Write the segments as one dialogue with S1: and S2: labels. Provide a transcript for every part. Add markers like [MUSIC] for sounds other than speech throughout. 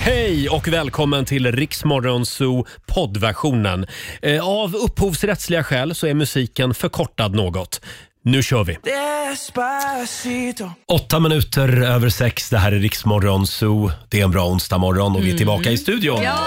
S1: Hej och välkommen till Riksmorgonzoo poddversionen. Eh, Av upphovsrättsliga skäl så är musiken förkortad något. Nu kör vi!
S2: Despacito.
S1: Åtta minuter över sex, det här är Riksmorgonzoo. Det är en bra onsdagmorgon och vi är tillbaka i studion.
S3: Mm. Ja!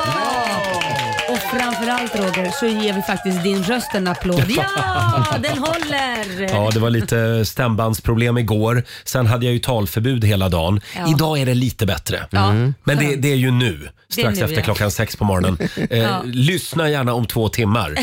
S3: Och framförallt Roger så ger vi faktiskt din röst en applåd. Ja, den håller!
S1: Ja, det var lite stämbandsproblem igår. Sen hade jag ju talförbud hela dagen.
S3: Ja.
S1: Idag är det lite bättre. Men det, det är ju nu, strax
S3: nu,
S1: efter
S3: ja.
S1: klockan sex
S3: [LAUGHS]
S1: på morgonen. Eh, Lyssna gärna om två timmar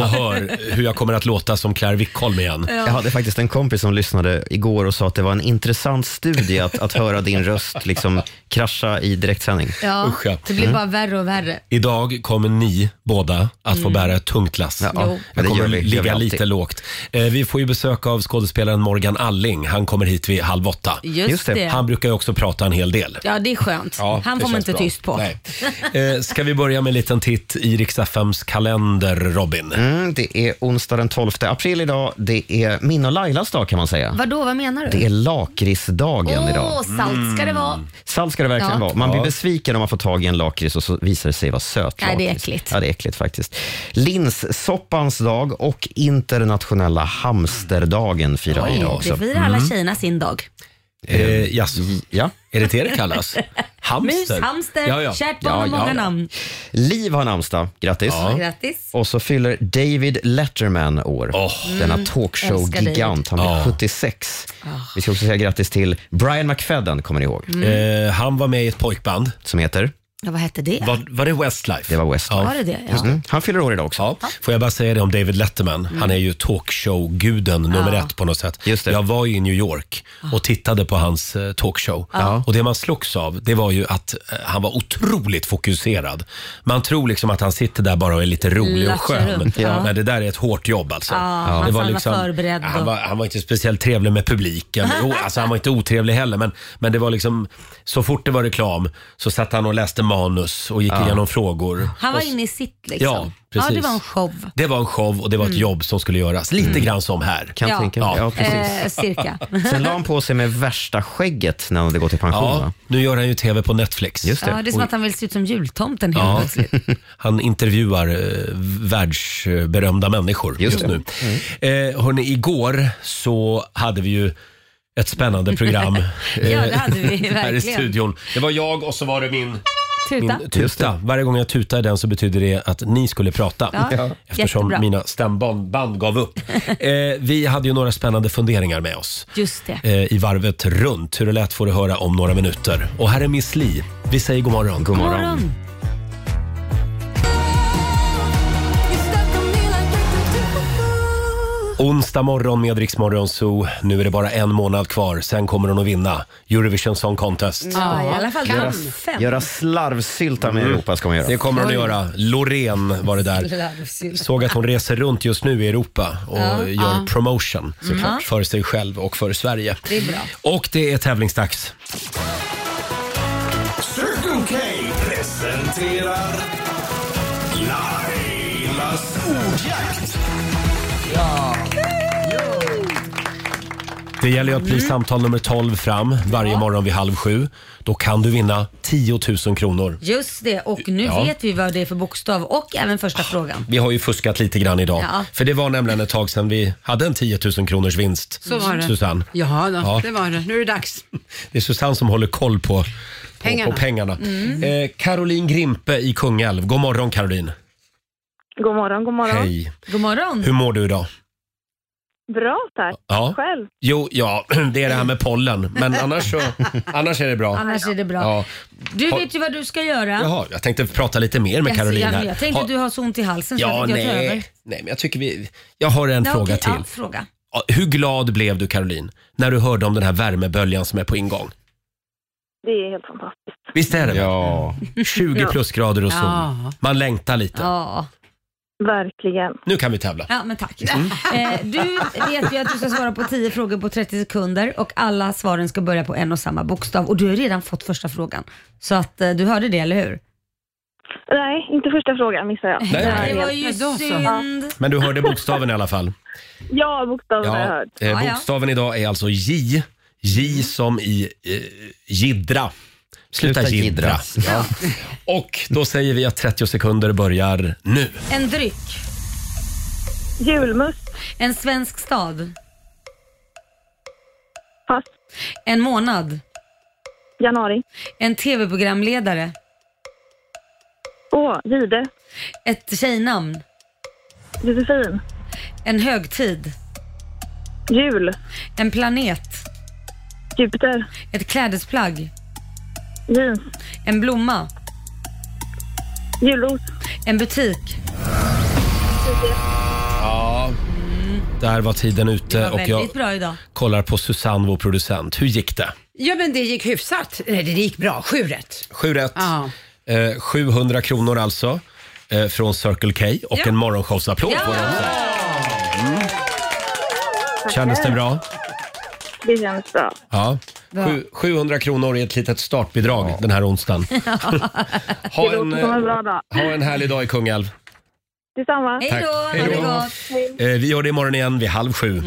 S1: och hör hur jag kommer att låta som Claire Wickholm igen.
S4: Jag hade faktiskt en kompis som lyssnade igår och sa att det var en intressant studie att, att höra din röst liksom krascha i direktsändning.
S3: Ja,
S1: Usch, ja. Mm.
S3: det blir bara värre och värre.
S1: Idag kommer ni båda att
S3: Mm.
S1: få bära ett tungt lass.
S4: Ja,
S3: Jo.
S4: men det
S1: Jag kommer
S4: gör vi, gör vi
S1: ligga
S4: alltid.
S1: lite lågt. Eh, Vi får ju besök av skådespelaren Morgan Alling. Han kommer hit vid halv åtta.
S3: Just,
S4: Just
S3: det.
S4: det.
S1: Han brukar ju också prata en hel del.
S3: Ja, det är skönt.
S1: Ja,
S3: Han
S1: det
S3: får man
S1: känns
S3: inte
S1: bra.
S3: tyst på. [LAUGHS]
S1: Nej. Eh, Ska vi börja med en liten titt i Rix FMs kalender, Robin?
S4: Mm, det är onsdag den 12 april idag. Det är min och Lailas dag kan man säga.
S3: Vadå, vad menar du?
S4: Det är lakritsdagen
S3: Åh,
S4: idag.
S3: salt ska det vara.
S1: Mm.
S4: Salt ska det verkligen
S3: Ja.
S4: vara. Man blir besviken om man får tag i en lakrits och så visar det sig vara söt
S3: Nej, det är
S4: lakrits.
S3: äckligt.
S4: Ja, det är äckligt faktiskt. Linssoppans dag och internationella hamsterdagen firar vi idag
S3: Oj, det
S4: också.
S3: firar
S1: Mm.
S3: alla tjejerna sin dag.
S1: Eh, jaså,
S4: Ja.
S1: är det det det
S3: [LAUGHS]
S1: kallas?
S3: Mus,
S1: Hamster?
S3: hamster,
S1: Ja, ja.
S3: kärt barn
S4: Ja,
S3: har
S4: ja,
S3: många
S4: ja.
S3: namn.
S4: Liv har namnsdag, grattis.
S3: Grattis.
S4: Och så fyller David Letterman år. Denna
S3: Mm.
S4: talkshow-gigant. Han
S1: Ah.
S4: är 76.
S3: Ah.
S4: Vi ska också säga grattis till Brian McFadden, kommer ni ihåg?
S3: Mm.
S1: Eh, han var med i ett pojkband.
S4: Som heter?
S3: Ja, vad hette det?
S1: Var, var det Westlife?
S4: Det var West.
S1: Ja.
S3: Var det det? Ja.
S4: Mm. Han fyller år idag också.
S1: Ja. Får jag bara säga det om David Letterman. Han är ju talkshow-guden nummer
S3: Mm. Ja. Ah.
S1: ett på något sätt.
S4: Just det.
S1: Jag var ju i New York och tittade på hans eh, talkshow. Och det man slogs av, det var ju att eh, han var otroligt fokuserad. Man tror liksom att han sitter där bara och är lite rolig och
S3: Lattjar
S1: skön.
S3: runt, ja.
S1: Men det där är ett hårt jobb alltså.
S3: Ja, han var förberedd
S1: Ja, han,
S3: och-
S1: var, han var inte speciellt trevlig med publiken. Jo,
S3: [LAUGHS]
S1: alltså, han var inte otrevlig heller, men, men det var liksom så fort det var reklam så satt han och läste manus och gick igenom frågor.
S3: Han var
S1: Och s-
S3: inne i sitt liksom.
S1: Ja, precis.
S3: Ja, det var en show.
S1: det var en show och det
S3: Mm.
S1: var ett jobb som skulle göras. Lite grann som här.
S4: Kan
S3: Ja.
S4: jag tänka mig.
S1: Ja.
S4: Ja, precis.
S3: Eh, cirka.
S4: Sen la han på sig med värsta skägget när han hade gått i pension.
S1: Ja,
S4: Va?
S1: nu gör han ju tv på Netflix.
S4: Just
S3: Ja, det är som att han vill se ut som jultomten helt
S1: Ja.
S3: plötsligt.
S1: [LAUGHS] Han intervjuar eh, världsberömda människor
S4: Just
S1: just,
S4: det.
S1: nu. Eh, hörni, igår så hade vi ju ett
S3: [LAUGHS]
S1: spännande program eh,
S3: Ja, det hade vi
S1: [LAUGHS] här i
S3: verkligen.
S1: studion. Det var jag och så var det min
S3: Tuta.
S1: Min tuta. Varje gång jag tutar i den så betyder det att ni skulle prata.
S3: Ja, Ja.
S1: Eftersom
S3: jättebra.
S1: mina stämband band
S3: [LAUGHS]
S1: gav upp. eh, vi hade ju några spännande funderingar med oss.
S3: Just det.
S1: Eh, I varvet runt. Hur det lät får du höra om några minuter. Och här är Miss Li. Vi säger god morgon.
S4: God
S3: God
S4: morgon.
S3: morgon.
S1: Onsdag morgon med Rix Morgon Zoo. Nu är det bara en månad kvar. Sen kommer hon att vinna Eurovision Song Contest.
S3: Ja, i alla fall de fem.
S4: Göra slarvsylta med Europa ska man göra.
S1: Mm. Det kommer hon att göra. Loreen var
S3: [LAUGHS]
S1: det där.
S3: Larvsylt.
S1: såg att hon reser runt just nu i Europa och gör promotion för sig själv och för Sverige.
S3: Mm. Det är bra.
S1: Och det är tävlingsdags.
S5: Circle K presenterar Lailas ordjakt.
S1: Det gäller ju att bli samtal nummer 12 fram varje morgon vid halv sju. Då kan du vinna 10 000 kronor.
S3: Just det, och nu
S1: Ja.
S3: vet vi vad det är för bokstav och även första frågan.
S1: Vi har ju fuskat lite grann idag.
S3: Ja.
S1: För det var nämligen ett tag sedan vi hade en 10 000 kronors vinst.
S6: Så var det.
S1: Susanne.
S6: Jaha, då,
S1: Ja.
S6: det var det. Nu är det dags.
S1: [LAUGHS] Det är Susanne som håller koll på på pengarna.
S6: Pengarna.
S1: På pengarna.
S3: Mm.
S1: Eh, Caroline Grimpe i Kungälv. God morgon Caroline.
S7: God morgon, god morgon.
S1: Hej.
S3: God morgon.
S1: Hur mår du idag?
S7: Bra tack.
S1: Ja.
S7: Själv?
S1: Jo, ja, [CLEARS THROAT] det är det här med pollen.
S3: [LAUGHS]
S1: Men annars, så, annars är det bra.
S3: Annars är det bra.
S1: Ja.
S3: Du vet ju vad du ska göra.
S1: Jaha, jag tänkte prata lite mer med
S3: Alltså,
S1: Caroline
S3: jag,
S1: här.
S3: jag tänkte
S1: Ha-
S3: att du har så ont i halsen så
S1: Ja,
S3: jag tänkte jag tar
S1: nej.
S3: över.
S1: nej, men jag tycker vi... Jag har en
S3: Ja,
S1: fråga
S3: okej,
S1: till.
S3: Ja, fråga.
S1: Ja, Hur glad blev du Caroline när du hörde om den här värmeböljan som är på ingång?
S7: Det är helt fantastiskt.
S1: Visst är det?
S4: Ja.
S1: 20 plusgrader och sol.
S6: Ja.
S1: Man längtar lite.
S3: Ja.
S7: Verkligen.
S1: Nu kan vi tävla.
S3: ja, men tack.
S1: Mm.
S3: [LAUGHS] Eh, du vet ju att du ska svara på 10 frågor på 30 sekunder och alla svaren ska börja på en och samma bokstav och du har redan fått första frågan. Så att eh, du hörde det, eller hur?
S7: Nej, inte första frågan missade jag.
S1: Nej, nej.
S3: Det var ju
S6: Ja, då så.
S3: synd.
S1: Men du hörde bokstaven i alla fall.
S7: Ja, bokstaven har jag hört.
S1: eh,
S3: Ja, ja.
S1: bokstaven idag är alltså J. J som i eh, jiddra. Sluta,
S4: Sluta
S1: jiddra. Ja. Och då säger vi att 30 sekunder börjar nu.
S3: En dryck.
S7: Julmust.
S3: En svensk stad.
S7: Pass.
S3: En månad.
S7: Januari.
S3: En tv-programledare.
S7: Åh, Gide.
S3: Ett tjejnamn.
S7: Josefin.
S3: En högtid.
S7: Jul.
S3: En planet.
S7: Jupiter.
S3: Ett klädesplagg.
S7: Jeans.
S3: En blomma.
S7: Julros.
S3: En butik.
S1: Ja. Där var tiden
S3: Det
S1: ute
S3: var
S1: och
S3: väldigt
S1: jag
S3: bra idag.
S1: kollar på Susanne, vår producent. Hur gick det?
S6: Ja, men det gick hyfsat. Nej, det gick bra. Sju rätt.
S1: 7 rätt.
S6: Ja.
S1: Eh, 700 kronor alltså eh, från Circle K och
S6: Ja.
S1: en morgonshowsapplåd. får de.
S3: Mm.
S1: Kändes det bra?
S7: Det känns bra.
S1: Ja.
S3: Bra.
S1: Sju- 700 kronor är ett litet startbidrag den
S3: [LAUGHS]
S1: här onsdagen. ha,
S7: Det låter
S1: en,
S7: som en
S1: eh,
S7: bra dag.
S1: ha en härlig dag i Kungälv.
S7: Detsamma.
S3: Hej då, ha
S1: Hej
S3: det
S1: då.
S3: gott. Mm.
S1: Eh, vi gör det imorgon igen vid halv sju.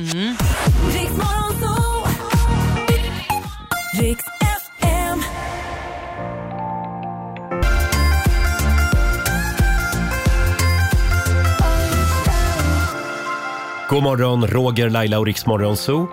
S8: Riks FM.
S1: God morgon, Roger, Laila och Riksmorgon Zoo.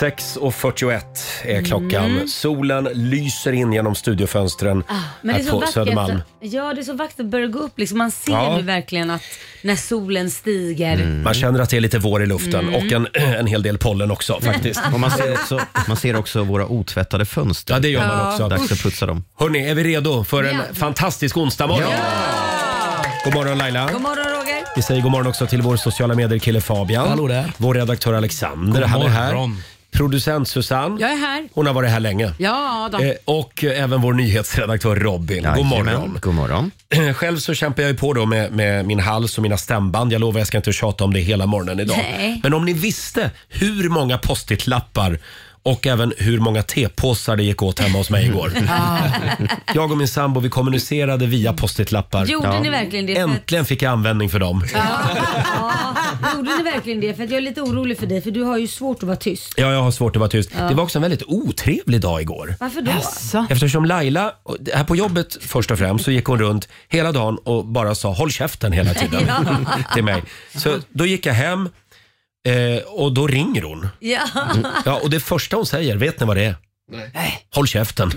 S1: 6.41 är klockan.
S3: Mm.
S1: Solen lyser in genom studiofönstren
S3: Ah, Men det är
S1: här
S3: så
S1: på
S3: vackert.
S1: Södermalm.
S3: Ja, det är så vackert att börja gå upp. Liksom. Man ser
S1: Ja. Mm.
S3: nu verkligen att när solen stiger.
S1: Man känner att det är lite vår i luften
S6: Mm.
S1: och en, [CLEARS THROAT] en hel del pollen också faktiskt.
S4: Och man, ser också, man ser också våra otvättade fönster.
S1: Ja, det gör man också.
S4: Dags att putsa dem.
S1: Hörni, är vi redo för en fantastisk onsdagmorgon? God morgon Laila.
S3: God morgon Roger.
S1: Vi säger god morgon också till vår sociala medier-kille Fabian.
S9: Hallå där.
S1: Vår redaktör Alexander,
S9: God
S1: han är här.
S9: morgon.
S1: Producent Susanne,
S6: Jag är här.
S1: hon har varit här länge.
S6: Ja, då.
S1: Eh, Och eh, även vår nyhetsredaktör Robin. God morgon.
S4: Jajamän. God morgon.
S1: [CLEARS THROAT] Själv så kämpar jag ju på då med, med min hals och mina stämband. Jag lovar jag ska inte tjata om det hela morgonen idag.
S3: Nej.
S1: Men om ni visste hur många post-it-lappar och även hur många tepåsar det gick åt hemma hos
S3: [LAUGHS]
S1: mig igår. [LAUGHS] jag och min sambo vi kommunicerade via post-it-lappar.
S3: Gjorde ni verkligen det? För att,
S1: Äntligen fick jag användning för dem.
S3: ja, Ah, gjorde ni verkligen det? För att jag är lite orolig för dig, för du har ju svårt att vara tyst.
S1: Ja, jag har svårt att vara tyst. Det var också en väldigt otrevlig dag igår.
S3: Varför då?
S6: Så.
S1: Eftersom Laila, och här på jobbet först och främst, så gick hon runt hela dagen och bara sa håll käften
S3: [LAUGHS]
S1: hela tiden till mig. Så då gick jag hem eh, och då ringer hon.
S3: Ja.
S1: Ja, och det första hon säger, vet ni vad det är? Nej. Håll käften.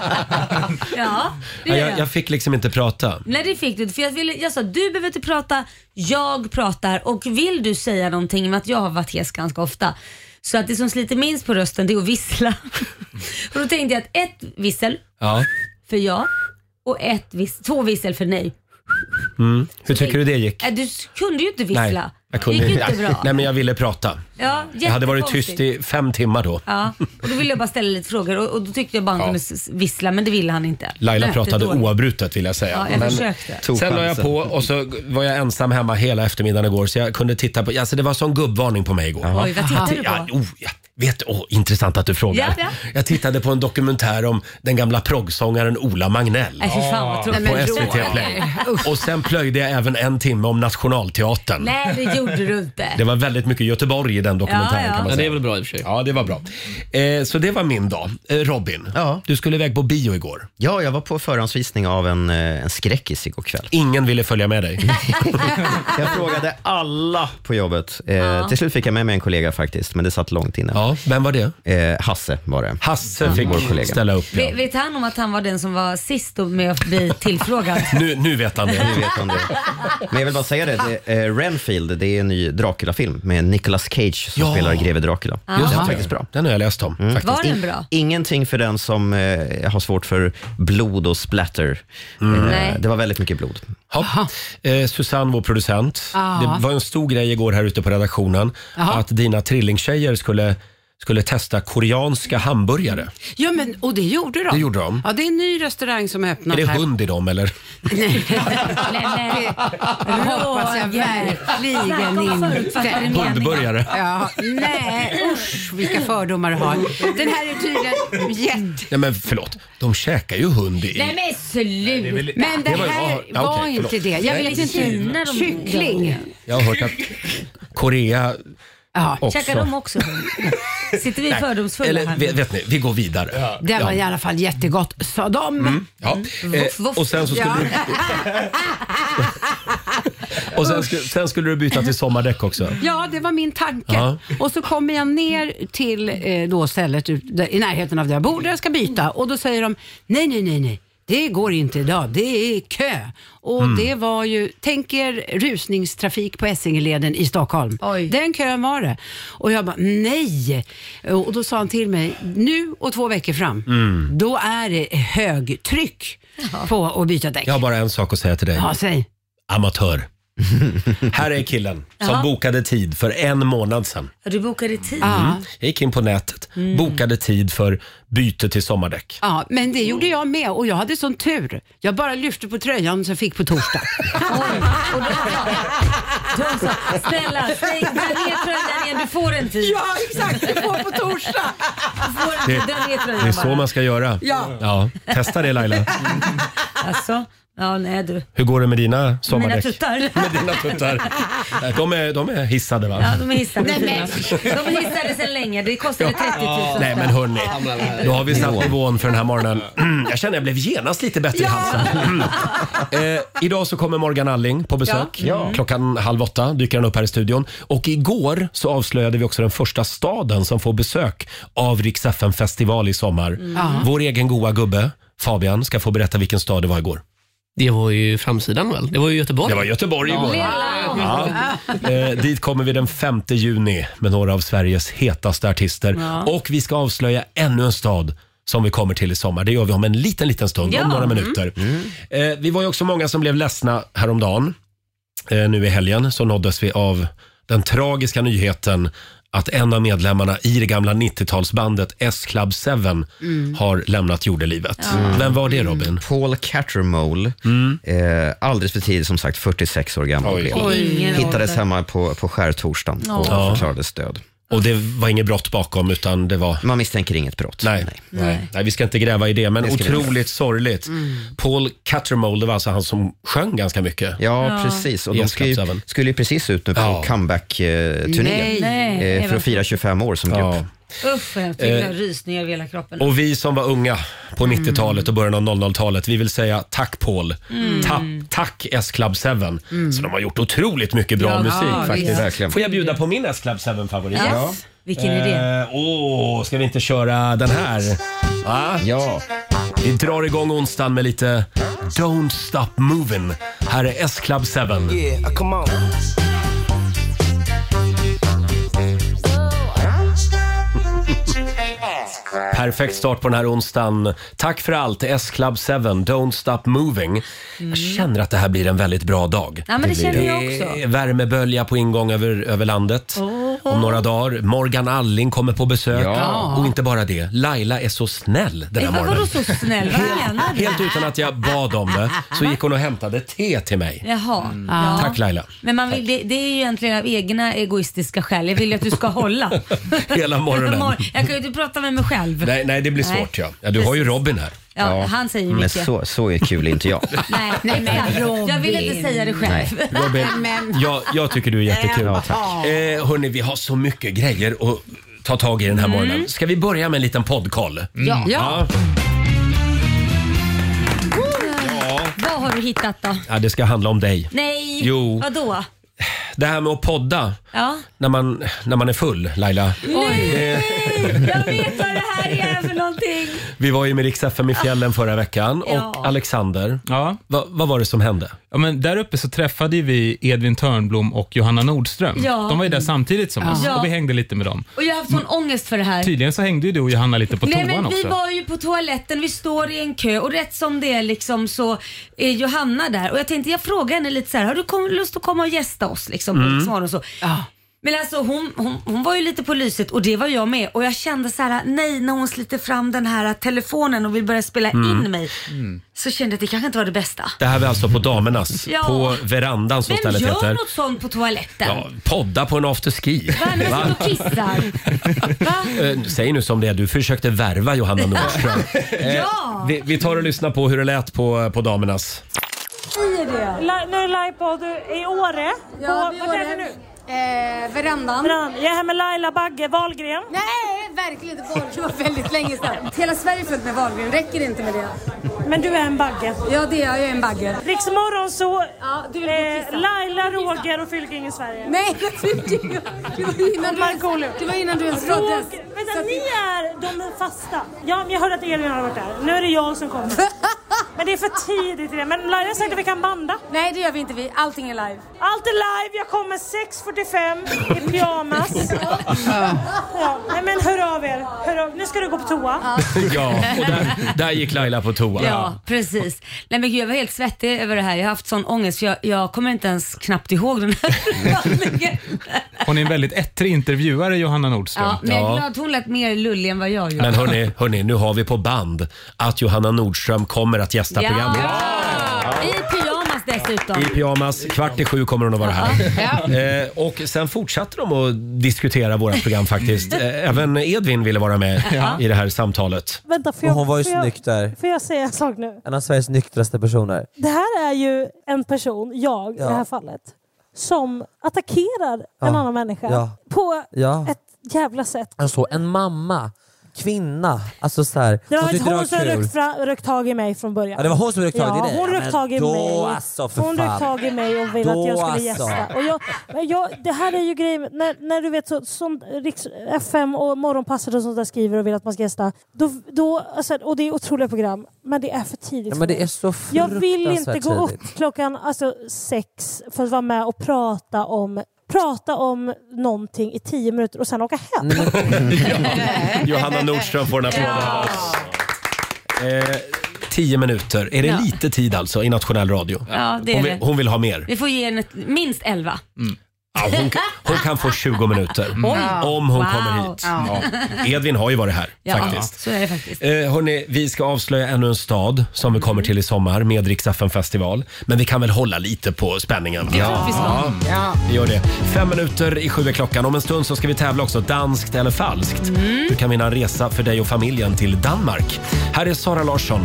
S3: ja, det
S1: Ja,
S3: gör
S1: jag,
S3: jag.
S1: jag fick liksom inte prata.
S3: Nej det fick du inte, för jag, ville, jag sa du behöver inte prata, jag pratar och vill du säga någonting, i och med att jag har varit hes ganska ofta, så att det som sliter minst på rösten det är att vissla. [LAUGHS] och då tänkte jag att ett vissel
S1: Ja.
S3: för ja och ett vis, två vissel för nej.
S1: Hur tycker du det gick?
S3: Äh, Du s- kunde ju inte
S1: Nej,
S3: vissla.
S1: jag kunde
S3: det gick ju inte bra.
S1: Nej, men jag ville prata.
S3: Ja,
S1: Jag hade varit tyst i fem timmar då.
S3: Ja, och då ville jag bara ställa lite frågor och, och då tyckte jag bara han kunde s- s- vissla men det ville han inte.
S1: Laila pratade
S3: Jättedåligt.
S1: oavbrutet vill jag säga.
S3: Ja, jag
S1: Men-
S3: försökte.
S4: Tog
S1: Sen la jag
S4: chansen.
S1: på och så var jag ensam hemma hela eftermiddagen igår så jag kunde titta på, alltså det var sån gubbvarning på mig igår.
S3: Oj, vad tittar du
S1: Ja,
S3: på?
S1: oh, ja. Vet, oh, intressant att du frågar.
S3: Ja,
S1: Jag tittade på en dokumentär om den gamla proggsångaren Ola Magnell
S3: Nej, fy fan vad tråkigt.
S1: på SVT Play. Och sen plöjde jag även en timme om Nationalteatern.
S3: Nej, det gjorde du inte.
S1: Det var väldigt mycket Göteborg i den dokumentären
S3: Ja, ja.
S1: kan man
S9: Men det är
S1: säga.
S9: väl bra i och för sig.
S1: Ja, det var bra. Eh, så det var min dag. Eh, Robin,
S4: Ja.
S1: du skulle iväg på bio igår.
S4: Ja, jag var på förhandsvisning av en, eh, en skräckis igår kväll.
S1: Ingen ville följa med dig.
S4: Jag frågade alla på jobbet. Eh, Till slut fick jag med mig en kollega faktiskt, men det satt långt inne.
S1: Ja, vem var det?
S4: Eh, Hasse var det.
S1: Hasse fick
S4: Vår kollega.
S1: ställa upp. Ja.
S3: Ve- Vet han om att han var den som var sist då med att bli tillfrågad?
S1: [LAUGHS] Nu, nu vet han det.
S4: Nu vet han det. Men jag vill bara säga det, det eh, Renfield, det är en ny Dracula-film med Nicolas Cage som
S1: Ja.
S4: spelar greve Dracula.
S1: Just
S4: Den
S1: det.
S4: är faktiskt bra. Mm.
S1: Den har jag läst om. Faktiskt.
S3: Var den bra?
S4: Ingenting för den som eh, har svårt för blod och splatter.
S1: Mm.
S3: Nej.
S4: Eh, det var väldigt mycket blod.
S1: Ja. Eh, Susanne, vår producent. Det var en stor grej igår här ute på redaktionen. Att dina trillingtjejer skulle, skulle testa koreanska hamburgare.
S6: Ja, men, och det gjorde de.
S1: Det gjorde de.
S6: Ja, det är en ny restaurang som har öppnat
S1: Är det
S6: här.
S1: hund i dem eller?
S3: Nej, nej.
S6: hoppas jag
S3: Snacka
S6: verkligen
S3: om förutfattade
S6: inte.
S3: meningar.
S1: Hundburgare.
S6: Ja, nej, usch vilka fördomar du har. Den här är tydligen jätte...
S1: Nej men förlåt, de käkar ju hund i...
S3: Nej men sluta!
S6: Men det
S1: var ju-
S6: här
S1: ja,
S6: var
S1: okej,
S6: inte
S1: förlåt.
S6: det. Jag vet inte.
S3: Kina de-
S6: Kyckling.
S1: Jag har hört att Korea
S6: Ja.
S1: Också.
S3: Käkar de också
S1: [LAUGHS]
S3: hund? Sitter vi
S1: Nej,
S3: fördomsfulla
S1: Eller,
S3: här?
S1: vet, vet ni, vi går vidare. Ja.
S6: Det var i alla fall jättegott, sa de.
S1: Mm, ja.
S6: Voff,
S1: Eh,
S6: voff.
S1: och sen så skulle,
S6: Ja.
S1: du, och sen, sku- sen skulle du byta till sommardäck också.
S6: Ja, det var min tanke.
S1: Ja.
S6: Och så kommer jag ner till eh, då stället ut, där, i närheten av där jag bor, där jag ska byta. Och då säger de, nej, nej, nej, nej. Det går inte idag, det är kö. Och
S8: Mm.
S6: det var ju, tänk er rusningstrafik på Essingeleden i Stockholm. Den kön var det. Och jag bara, nej. Och då sa han till mig, nu och två veckor fram,
S1: Mm.
S6: då är det högtryck på att byta däck.
S1: Jag har bara en sak att säga till dig.
S6: Ja, säg.
S1: Amatör. Här är killen som
S3: Jaha.
S1: bokade tid för en månad sedan.
S3: Ja, Du bokade tid.
S6: Ah.
S1: Mm. Jag gick in på nätet,
S6: Mm.
S1: bokade tid för byte till sommardäck.
S6: Ja, men det gjorde jag med och jag hade sån tur. Jag bara lyfte på tröjan så jag fick på torsdag.
S3: De sa, snälla, säg, dra ner tröjan där igen, du får en tid.
S6: Ja, exakt, du får på torsdag.
S3: Du får en
S1: Det,
S3: tid, dra ner tröjan
S1: det är så
S3: bara.
S1: man ska göra.
S3: Ja.
S1: Testa det Laila.
S3: Alltså, ja nej du.
S1: Hur går det med dina
S3: Mina
S1: sommardäck?
S3: tuttar.
S1: Med [LAUGHS] dina tuttar. Nej, De är, de är hissade va?
S3: Ja, de är hissade.
S6: Nej, men.
S3: De är hissade sedan länge. Det kostade 30 000.
S1: Nej men hörni, då har vi satt nivån för den här morgonen.
S5: Mm.
S1: Jag känner jag blev genast lite bättre i halsen. Mm. eh, idag så kommer Morgan Alling på besök.
S5: Ja. Mm.
S1: Klockan halv åtta dyker han upp här i studion. Och igår så avslöjade vi också den första staden som får besök av Rix FM festival i sommar.
S5: Mm.
S6: Ja.
S1: Vår egen goa gubbe Fabian ska få berätta vilken stad det var igår. [LAUGHS] Det var ju framsidan väl? Det var ju Göteborg. Det var Göteborg igår. Ja. Eh, dit kommer vi den 5 juni med några av Sveriges hetaste artister.
S5: Ja.
S1: Och vi ska avslöja ännu en stad som vi kommer till i sommar. Det gör vi om en liten, liten stund,
S5: Ja.
S1: om några
S5: Mm.
S1: minuter. Eh, vi var ju också många som blev ledsna häromdagen. Eh, nu i helgen så nåddes vi av den tragiska nyheten att en av medlemmarna i det gamla 90-talsbandet S-Club 7
S4: Mm.
S1: har lämnat jordelivet.
S4: Ja.
S1: Vem var det Robin?
S5: Mm.
S4: Paul Cattermole, eh, alldeles för tidigt som sagt, 46 år gammal blev han.
S1: Mm. Oj. Ingen
S4: Hittades
S1: ålder.
S4: hemma på, på skärtorsdagen och
S1: Ja.
S4: förklarades död.
S1: Och det var inget brott bakom utan det var...
S4: Man misstänker inget brott.
S1: Nej, nej. nej. vi ska inte gräva i det, men
S4: Det ska vi
S1: otroligt sorgligt.
S5: Mm.
S1: Paul Cattermole, det var alltså han som sjöng ganska mycket.
S4: Ja, precis. Och de skulle ju, skulle ju precis ut nu på comeback-turné
S3: Nej. Nej,
S4: eh, för
S3: Eva.
S4: att fira 25 år som grupp.
S3: Usch vad hemskt. Jag
S1: Eh,
S3: fick rysningar över hela kroppen.
S1: Och vi som var unga på
S5: Mm.
S1: 90-talet och början av 00-talet, vi vill säga tack Paul.
S3: Mm.
S1: Ta- tack S-Club 7. Så de har gjort otroligt mycket bra
S5: Mm. Ja,
S1: musik
S5: ja, visst.
S1: faktiskt.
S5: Verkligen.
S1: Får jag bjuda på min S-Club 7-favorit?
S5: Yes. Ja. Vilken är det?
S1: Eh, Åh, ska vi inte köra den här? Va?
S4: Ja.
S1: Vi drar igång onsdagen med lite Don't Stop Movin'. Här är S-Club 7.
S5: Yeah, come on.
S1: Perfekt start på den här onsdagen. Tack för allt, S-Club 7, Don't Stop Moving. Jag känner att det här blir en väldigt bra dag.
S3: Mm. Ja, men det
S1: blir
S3: känner jag
S1: Det
S3: också.
S1: är Värmebölja på ingång över, över landet. Om några dagar. Morgan Alling kommer på besök.
S3: Ja.
S1: Och inte bara det, Laila är så snäll den här
S3: Eva, vadå
S1: morgonen.
S3: så snäll? Vad menar du?
S1: Helt utan att jag bad om det så gick hon och hämtade te till mig.
S3: Jaha. Ja.
S1: Mm, Tack Laila.
S3: Men man vill, det, det är ju egentligen av egna egoistiska skäl. Jag vill ju att du ska hålla.
S1: [LAUGHS] Hela morgonen.
S3: Jag kan ju inte prata med mig själv.
S1: Nej, nej det blir
S3: Nej.
S1: svårt ja. ja du har ju Robin här.
S3: Ja, han säger ju
S4: Men
S3: mycket.
S4: så, så är kul är inte jag.
S3: [LAUGHS] Nej, nej men Jag vill inte säga det själv.
S4: Nej.
S1: Robin, jag, jag tycker du är jättekul.
S4: Ja,
S1: eh,
S4: tack.
S1: hörni, vi har så mycket grejer att ta tag i den här
S5: Mm.
S1: morgonen. Ska vi börja med en liten poddkoll?
S3: Ja.
S6: Mm.
S1: Ja.
S3: [LAUGHS] Vad har du hittat då?
S1: ja, det ska handla om dig.
S3: Nej,
S1: Jo.
S3: vadå?
S1: Det här med att podda
S3: Ja.
S1: när man, när man är full, Laila. Eh,
S3: Jag vet vad det här är för någonting.
S1: vi var ju med Rix FM i fjällen förra veckan och
S3: Ja.
S1: Alexander, va, vad var det som hände?
S9: Ja, men där uppe så träffade ju vi Edvin Törnblom och Johanna Nordström.
S3: Ja.
S9: De var ju där samtidigt som oss
S3: Ja.
S9: och vi hängde lite med dem.
S3: Och jag har haft sån ångest för det
S1: Typ.
S3: här.
S9: Tydligen så hängde ju du och Johanna lite på
S3: Nej,
S9: toan
S3: men vi
S9: också.
S3: var ju på toaletten, vi står i en kö och rätt som det är liksom så är Johanna där och jag tänkte jag frågar henne lite så här, har du kom, lust att komma och gästa oss liksom på
S6: Mm.
S3: Rix Morgon och så. Men alltså hon, hon, hon var ju lite på lyset och det var jag med och jag kände så här: nej när hon sliter fram den här telefonen och vill börja spela
S1: Mm.
S3: in mig så kände jag att det kanske inte var det bästa.
S1: Det här var alltså på Damernas,
S3: Ja.
S1: på verandan som
S3: Vem
S1: stället
S3: gör
S1: heter.
S3: något sånt på toaletten?
S1: Ja, podda på en afterski.
S3: Va? När
S1: Va?
S3: man sitter och kissar?
S1: Eh, Säg nu som det är, du försökte värva Johanna Nordström. Eh,
S3: [LAUGHS] Ja.
S1: vi, vi tar och lyssnar på hur det lät på,
S3: [LAUGHS]
S1: på damernas.
S10: Säger det.
S11: Nu är livepodd i Åre.
S10: Ja,
S11: på,
S10: vi
S11: vad
S10: var
S11: heter
S10: där.
S11: det nu?
S8: Eh, verandan.
S10: Verandan. Jag är här med Laila Bagge Wahlgren.
S8: Nej, verkligen inte. Wahlgren. Det var väldigt länge sedan. Hela Sverige är fullt med Wahlgren. Räcker det inte med det?
S10: Men du är en bagge.
S8: Ja, det är jag. Jag är en bagge.
S10: Riksmorgon så
S8: du
S10: eh, Laila, Roger och Fylking i Sverige.
S8: Nej, Fylking! Det var innan du ens, det var innan du ens föddes. [LAUGHS]
S10: Vänta, ni är de fasta. Ja, men jag hörde att Elin har varit där. Nu är det jag som kommer. Men det är för tidigt i det. Men Laila har sagt att vi kan banda.
S8: Nej, det gör vi inte. Vi. Allting är live.
S10: Allt är live. Jag kommer 6.45 i pyjamas. Ja, nej men hör av er. Hör av. Nu ska du gå på toa.
S1: ja, och där, där gick Laila på toa.
S3: Ja, precis. Nej, men gud, jag var helt svettig över det här. Jag har haft sån ångest för jag, jag kommer inte ens knappt ihåg den
S1: [LAUGHS]
S3: här.
S9: Hon är en väldigt ettrig intervjuare, Johanna Nordström.
S3: Ja, men jag är glad att hon lät mer lullig än vad jag gjorde.
S1: Men hörni, hörni, nu har vi på band att Johanna Nordström kommer att gästa
S3: Ja.
S1: programmet.
S3: I pyjamas dessutom.
S1: I pyjamas. Kvart i sju kommer hon att vara här. Eh, och sen fortsatte de att diskutera våra
S3: [LAUGHS]
S1: program faktiskt. Eh, Även Edvin ville vara med
S10: Ja.
S1: i det här samtalet.
S10: Vänta, får
S11: Och
S10: jag,
S11: hon var ju
S10: får jag,
S11: snygg där.
S10: Får jag säga en sak nu?
S11: En av Sveriges nyktraste personer.
S10: Det här är ju en person, jag i
S11: Ja.
S10: det här fallet, som attackerar
S11: Ja.
S10: en annan människa
S11: Ja.
S10: på
S11: Ja.
S10: ett jävla sätt.
S11: Alltså en mamma, kvinna. Alltså så här.
S10: Det var
S11: tyckte
S10: hon som
S11: kul.
S10: rökt, fra, rökt tag i mig från början.
S11: Ja, det var hon som rökt tag i
S10: Ja,
S11: dig.
S10: Hon
S11: Ja,
S10: rökt
S11: men
S10: tag i
S11: då
S10: mig.
S11: alltså, för
S10: hon rökt
S11: fan.
S10: tag i mig och ville
S11: Då
S10: att jag skulle
S11: alltså.
S10: gästa. Och jag, men jag, det här är ju grejen, med- när, när du vet så, som Riks, FM och Morgonpasset och sånt där skriver och vill att man ska gästa. Då, då, alltså, och det är otroliga program, men det är för tidigt.
S11: Ja,
S10: för
S11: men
S10: mig.
S11: det är så
S10: Jag vill inte
S11: fruktansvärt
S10: gå upp
S11: tidigt.
S10: klockan alltså, sex för att vara med och prata om prata om någonting i tio minuter och sen åka hem.
S1: Mm.
S3: [LAUGHS]
S1: Johanna Nordström får en applåd av oss. Eh, Tio minuter. Är det
S3: Ja.
S1: lite tid alltså i nationell radio?
S3: Ja, det är
S1: hon,
S3: det.
S1: vill, hon vill ha mer.
S3: Vi får ge henne ett- minst 11.
S1: Ja, hon, kan- hon kan få 20 minuter
S3: Oj.
S1: om hon
S3: Wow.
S1: kommer hit.
S3: Ja.
S1: Edvin har ju varit här
S3: Ja,
S1: faktiskt.
S3: så är det faktiskt.
S1: Eh, hörni, vi ska avslöja ännu en stad som vi kommer till i sommar med Riksaffen festival. Men vi kan väl hålla lite på spänningen? va? Ja, vi gör det. Fem minuter i sju är klockan. Om en stund så ska vi tävla också. Danskt eller falskt?
S3: Mm.
S1: Du kan vinna en resa för dig och familjen till Danmark. Här är Sara Larsson.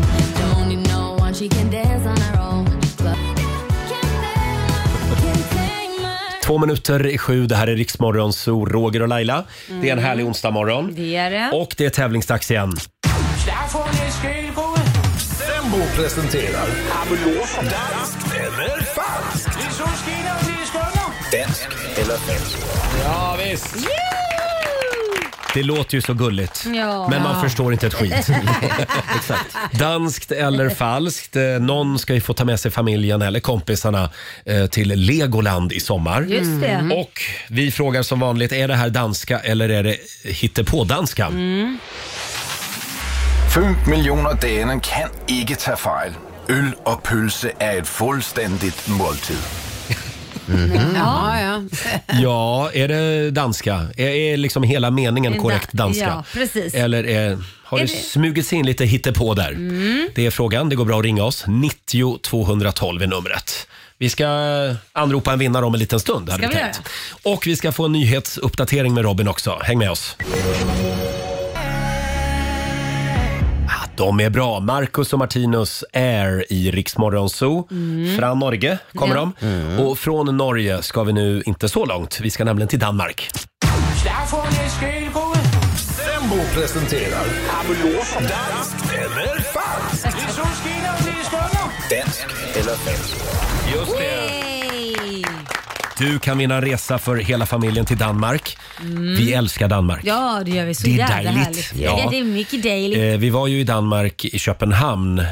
S1: Två minuter i sju. Det här är Riksmorgon, så Roger och Laila. Det är en
S3: Mm.
S1: härlig onsdagmorgon.
S3: Det är det.
S1: Och det är tävlingsdags igen.
S12: Sembo presenterar... Danskt eller falskt? Danskt eller falskt?
S1: Ja, visst. Det låter ju så gulligt,
S3: Ja.
S1: men man
S3: Ja.
S1: förstår inte
S3: [LAUGHS]
S1: ett skit. Exakt. Danskt eller falskt, eh, någon ska ju få ta med sig familjen eller kompisarna eh, till Legoland i sommar.
S3: Just det. Mm.
S1: Och vi frågar som vanligt, är det här danska eller är det hittepådanska?
S3: Mm.
S12: 5 millioner daner kan ikke tage fejl. Øl og pølse er et fuldstændigt måltid.
S6: Ja, ja.
S1: [LAUGHS] Ja, är det danska? Är, är liksom hela meningen
S3: Da-
S1: korrekt danska?
S3: ja, precis.
S1: Eller är, har
S3: Är
S1: det,
S3: det-
S1: smugits in lite hittepå där?
S3: Mm.
S1: Det är frågan. Det går bra att ringa oss. 90 212 är numret. Vi ska anropa en vinnare om en liten stund. Hade
S3: Ska
S1: vi
S3: vi
S1: tänkt. Och vi ska få en nyhetsuppdatering med Robin också. Häng med oss. Ah, De är bra. Marcus och Martinus är i Riksmorgon Zoo.
S13: Mm.
S1: Från Norge kommer
S13: Ja. Mm.
S1: de. Och från Norge ska vi nu inte så långt. Vi ska nämligen till Danmark.
S12: Sembo præsenterer... Danskt eller falskt? Dansk eller falskt?
S1: Just Du kan vinna en resa för hela familjen till Danmark.
S3: Mm.
S1: Vi älskar Danmark.
S3: Ja, det gör vi. Så
S1: Det är
S3: jävla
S1: dejligt.
S3: härligt.
S1: Ja.
S3: Ja. det är mycket dejligt.
S1: Eh, vi var ju i Danmark i Köpenhamn eh,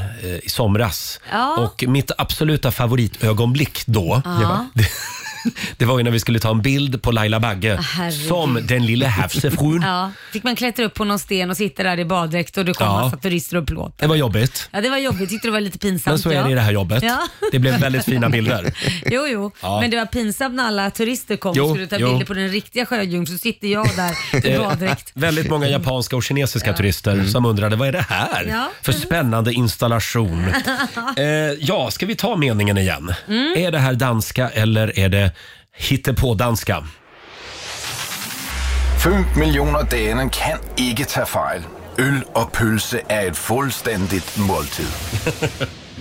S1: i somras
S3: Ja.
S1: och mitt absoluta favoritögonblick då
S3: Ja.
S1: det, [LAUGHS] det var ju när vi skulle ta en bild på Laila Bagge
S3: Ah, herregud.
S1: som den lilla havsefrun.
S3: Ja, fick man klättra upp på någon sten och sitta där i baddräkt och det kom
S1: Ja.
S3: massa turister och plåt.
S1: Det var jobbigt.
S3: Ja, det var jobbigt. Tyckte det var lite pinsamt.
S1: Men så är
S3: ja.
S1: det i det här jobbet. [LAUGHS]
S3: Ja.
S1: Det blev väldigt
S3: [LAUGHS]
S1: fina bilder.
S3: Jo, jo.
S1: Ja.
S3: Men det var pinsamt när alla turister kom
S1: Jo,
S3: och skulle ta
S1: jo.
S3: bilder på den riktiga sjöjungfrun så sitter jag där i
S1: Eh,
S3: baddräkt.
S1: väldigt många japanska och kinesiska turister som undrade vad är det här
S3: Mm. Ja.
S1: för
S3: [LAUGHS]
S1: spännande installation? Eh, ja, ska vi ta meningen igen?
S3: Mm.
S1: Är det här danska eller är det hittepådanska?
S12: 5 millioner daner kan ikke tage fejl. Øl og pølse er et fuldstændigt måltid.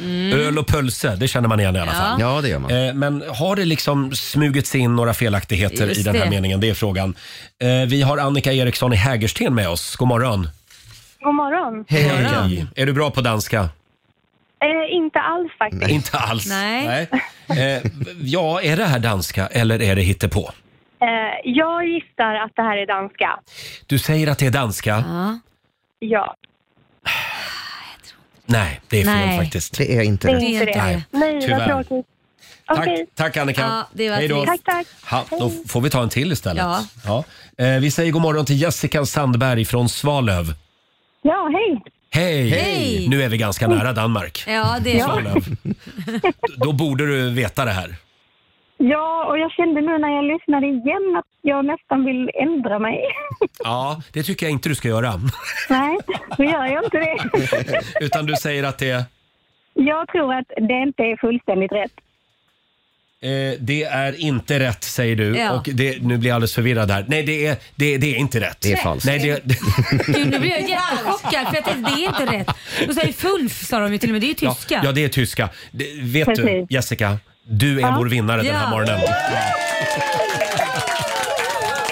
S3: Mm.
S1: Öl och pölse, det känner man igen i alla
S3: Ja.
S1: fall.
S3: Ja,
S4: det gör
S1: Eh,
S4: man.
S1: Men har det liksom smugits in några felaktigheter
S3: Just
S1: i den här
S3: det.
S1: meningen? Det är frågan. Eh, Vi har Annika Eriksson i Hägersten med oss. God morgon.
S13: God morgon.
S1: Hej. Är du bra på danska?
S13: Eh, inte alls faktiskt.
S1: Inte alls.
S13: Nej.
S1: Eh, Ja, är det här danska eller är det hittepå?
S13: Eh, jag gissar att det här är danska.
S1: Du säger att det är danska.
S13: Ja.
S1: Nej, det är fel
S13: Nej.
S1: faktiskt.
S4: Det är inte
S13: Det är inte det. Nej, vad
S1: Tyvärr.
S13: tråkigt.
S1: Tack,
S13: Okej.
S1: tack Annika.
S13: Ja, det var
S1: Hej då.
S13: trist. Tack, tack.
S1: Ha, då
S13: Hej.
S1: får vi ta en till istället.
S13: Ja.
S1: Ja. Eh, vi säger god morgon till Jessica Sandberg från Svalöv.
S13: Ja, hej.
S1: Hej!
S3: Hej.
S1: Nu är vi ganska nära Danmark.
S3: Ja, det är
S1: Svalöv. Då borde du veta det här.
S13: Ja, och jag kände nu när jag lyssnade igen att jag nästan vill ändra mig. [LAUGHS]
S1: Ja, det tycker jag inte du ska göra.
S3: [LAUGHS]
S13: Nej, då gör jag inte
S1: [LAUGHS]
S13: det.
S1: Utan du säger att det,
S13: Jag tror att det inte är fullständigt rätt.
S1: eh, det är inte rätt, säger du.
S13: Ja.
S1: Och det, nu blir jag alldeles förvirrad här. Nej, det är, det, det är inte rätt.
S4: Det är falskt.
S1: Nej, det,
S3: Gud, nu blir jag jättechockad för jag tänkte det är inte rätt. De säger FULF sa de ju till och med, det är ju
S1: Ja,
S3: tyska.
S1: ja, det är tyska. Det, vet du,
S3: Precis.
S1: Jessica? Du är
S3: Ja.
S1: vår vinnare den här
S3: Ja.
S1: morgonen.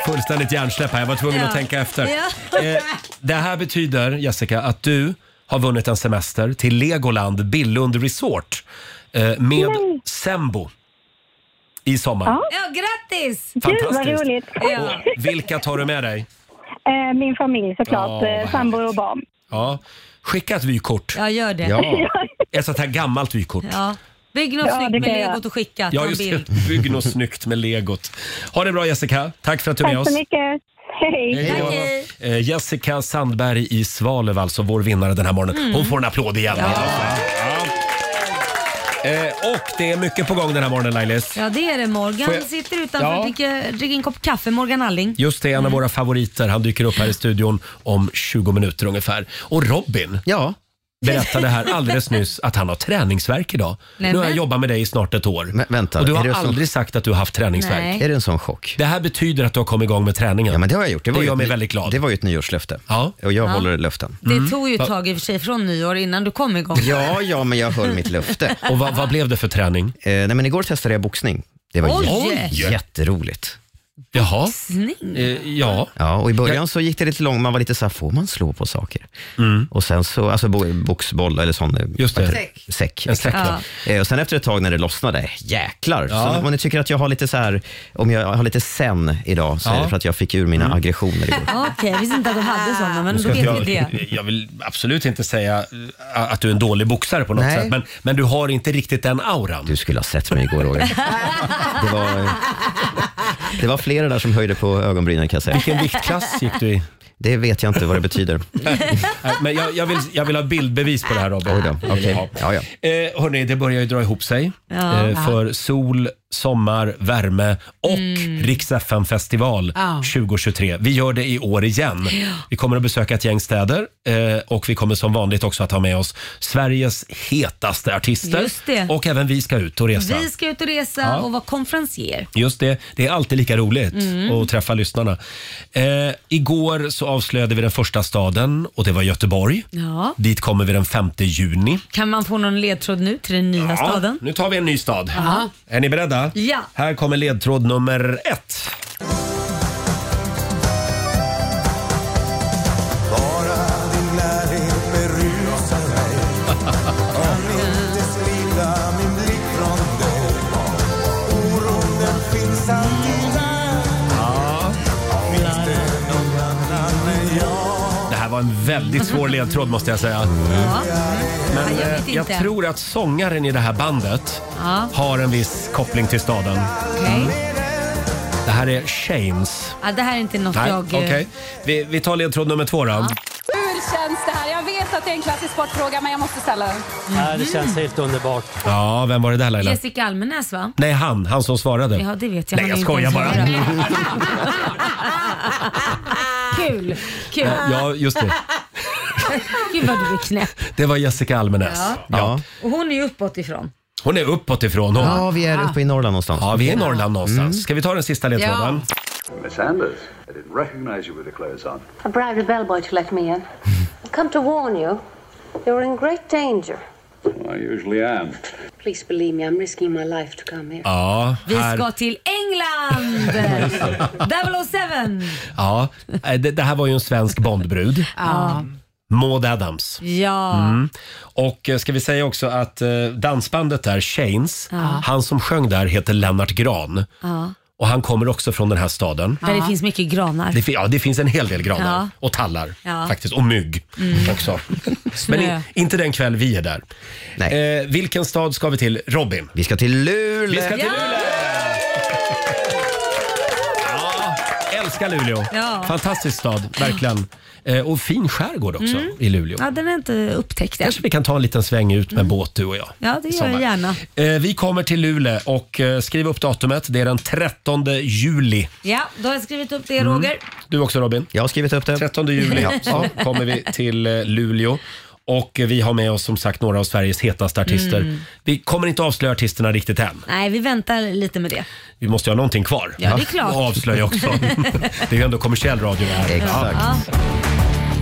S1: Fullständigt hjärnsläpp här. Jag var tvungen
S3: Ja.
S1: att tänka efter.
S3: Ja.
S1: Eh, det här betyder, Jessica, att du har vunnit en semester till Legoland Billund Resort eh, med Sembo i sommar.
S3: Ja, grattis!
S1: Fantastiskt.
S3: Ja.
S1: Och vilka tar du med dig?
S13: Eh, min familj såklart,
S1: Ja,
S13: eh,
S1: vad
S13: sambo och barn.
S1: Ja. Skicka ett vykort.
S3: Ja, gör det.
S1: Ja. Ett sånt här gammalt vykort.
S3: Ja. Bygg något
S13: Ja,
S3: snyggt
S13: det
S3: med
S13: kan jag.
S3: legot och skicka. Ta
S1: Ja,
S3: en
S1: just
S3: bild.
S1: det. Bygg något snyggt med legot. Ha det bra Jessica. Tack för att du är med
S13: Tack
S1: oss.
S13: så mycket. Hej.
S1: då. Eh, Jessica Sandberg i Svalöv, alltså vår vinnare den här morgonen.
S13: Mm.
S1: Hon får en applåd igen. Ja. Eh, och det är mycket på gång den här morgonen Lailis.
S3: Ja, det är det. Morgan
S1: Får jag-
S3: sitter utanför
S1: Ja.
S3: och dricker, dricker en kopp kaffe. Morgan Alling.
S1: Just det, en av våra favoriter. Han dyker upp här i studion om 20 minuter ungefär. Och Robin
S4: ja.
S1: berättade här alldeles nyss att han har träningsvärk idag.
S3: Nej,
S1: nu har jag
S3: men-
S1: jobbat med dig i snart ett år.
S4: vänta,
S1: och du
S4: är
S1: har
S4: det så-
S1: aldrig sagt att du har haft träningsvärk.
S3: Nej. Är
S4: det en sån chock?
S1: Det här betyder att du har kommit igång med träningen.
S4: Ja, men det har jag gjort.
S1: Det,
S4: ju
S1: gör
S4: ett
S1: mig
S4: ny-
S1: väldigt glad.
S4: Det var ju ett nyårslöfte.
S1: Ja.
S4: Och jag
S3: Ja.
S4: håller löften.
S3: Det
S1: Mm.
S3: tog ju ett tag i och för sig från nyår innan du kom igång.
S4: Ja, ja, men jag höll
S3: [LAUGHS]
S4: mitt löfte.
S1: Och vad, blev det för träning?
S4: Eh, nej, men igår testade jag boxning. Det var
S3: Oj!
S4: jätte-
S3: Oj!
S4: jätteroligt.
S1: Jaha. Eh,
S3: Boxning?
S1: ja. Mm.
S4: ja. Och I början så gick det lite långt. Man var lite så här, får man slå på saker? Och sen så, alltså bo, boxboll eller sån eh,
S1: Just det.
S4: vad heter det? säck.
S1: En säck,
S4: exakt. Eh, Och sen efter ett tag när det lossnade, jäklar.
S1: Ja.
S4: Så om ni tycker att jag har lite så här, om jag har lite sen idag så är
S1: Ja. Mm.
S4: det för att jag fick ur mina aggressioner igår.
S1: [LAUGHS]
S3: Okej, jag visste inte att du hade sådana, men då vet vi det.
S1: jag vill absolut inte säga eh, att du är en dålig boxare på något
S4: Nej.
S1: sätt, men, men du har inte riktigt den auran.
S4: Du skulle ha sett mig igår Roger. Det var, det var flera där som höjde på ögonbrynen kan jag säga.
S1: Vilken viktklass gick [LAUGHS] du i?
S4: Det vet jag inte vad det betyder.
S1: Nej, Eh, men jag, jag, vill, jag vill ha bildbevis på det här Robin.
S4: Oj då, okej. Ja, ja.
S1: Eh, hörni, det börjar ju dra ihop sig
S4: Ja.
S1: eh, för sol, sommar, värme och mm. Rix festival
S14: Ja.
S1: 2023. Vi gör det i år igen.
S14: Ja.
S1: Vi kommer att besöka ett gäng städer eh, och vi kommer som vanligt också att ha med oss Sveriges hetaste artister.
S3: Just det.
S1: Och även vi ska ut och resa.
S3: Vi ska ut och resa
S1: Ja.
S3: och vara konferencier.
S1: Just det, det är alltid lika roligt
S3: Mm.
S1: att träffa lyssnarna. Eh, igår så avslöjade vi den första staden och det var Göteborg.
S3: Ja.
S1: Dit kommer vi den 5 juni.
S3: Kan man få någon ledtråd nu till den nya staden?
S1: nu tar vi en ny stad.
S3: Ja.
S1: Är ni beredda?
S3: Ja.
S1: Här kommer ledtråd nummer ett.
S2: Bara din närhet berusar mig Kan inte slita min blick från dig Oron den finns alltid där Finns det någon annan än jag?
S1: Det här var en väldigt svår ledtråd måste jag säga. Men
S3: jag
S1: eh,
S3: vet
S1: jag
S3: inte.
S1: tror att sångaren i det här bandet
S3: Ja.
S1: har en viss koppling till staden.
S3: Okej.
S1: Det här är Shames.
S3: Ja, det här är inte något
S1: Nej,
S3: jag... eh,
S1: okej. Vi, vi tar ledtråd nummer två då.
S15: Hur känns det här? Jag vet att det är en klassisk sportfråga, men jag måste ställa den.
S1: Ja, det känns helt underbart. Ja, vem var det där Laila?
S3: Jessica Almenäs va?
S1: Nej, han. Han som svarade.
S3: Ja, det vet jag. Han
S1: Nej, jag
S3: är
S1: skojar
S3: inte
S1: bara.
S3: ens Kul! Kul!
S1: [LAUGHS] Ja, just det.
S3: Gud vad du är knäpp.
S1: Det var Jessica Almenäs.
S3: Ja.
S1: Ja.
S3: Och hon är ju uppåt ifrån.
S1: Hon är uppåt ifrån hon.
S4: Ja, vi är uppe i Norrland någonstans.
S1: Ja, vi är i Norrland någonstans. Ska vi ta den sista ledtråden?
S16: Miss Anders, I didn't recognize you with the clothes on.
S17: I bribed a bellboy to let me in. I've come to warn you. You're in great danger.
S16: I usually am.
S14: Please believe me, I'm risking my life to come here.
S1: Ja,
S3: Vi
S1: här-
S3: ska till England! 007!
S1: Ja, eh, det, det här var ju en svensk Bondbrud.
S3: Ja.
S1: Maud Adams.
S3: Ja.
S1: Mm. Och eh, ska vi säga också att eh, dansbandet där, Shanes,
S3: Ja.
S1: han som sjöng där heter Lennart Gran.
S3: ja.
S1: Och han kommer också från den här staden.
S3: Där det finns mycket granar.
S1: Det, fi- ja, det finns en hel del granar
S3: Ja.
S1: och tallar
S3: Ja.
S1: faktiskt. Och mygg
S3: Mm. [LAUGHS]
S1: också.
S3: Snö.
S1: Men i, inte den kväll vi är där. Eh, vilken stad ska vi till? Robin?
S4: Vi ska till Luleå.
S1: Vi ska till Luleå. Ja, älskar Luleå.
S3: Ja.
S1: Fantastisk stad, verkligen. Eh, och fin skärgård också
S3: Mm.
S1: i Luleå.
S3: Ja, den är inte upptäckt än.
S1: Kanske vi kan ta en liten sväng ut med båt du och jag.
S3: Mm. Ja, det
S1: i
S3: gör
S1: sommar.
S3: jag gärna.
S1: Eh, Vi kommer till Luleå och eh, skriv upp datumet. Det är den 13 juli.
S3: Ja, då har jag skrivit upp det Roger.
S1: Du också Robin?
S4: Jag har skrivit upp det.
S1: 13
S3: [LAUGHS]
S1: juli
S3: Ja.
S1: ja, kommer vi till eh, Luleå. Och eh, vi har med oss som sagt några av Sveriges hetaste artister.
S3: Mm.
S1: Vi kommer inte avslöja artisterna riktigt än.
S3: Nej, vi väntar lite med det.
S1: Vi måste ju ha någonting kvar.
S3: Ja, det är klart.
S1: [LAUGHS] Och
S3: [LAUGHS]
S1: avslöja också. det är ju ändå kommersiell radio det här. Ja.
S3: Ja,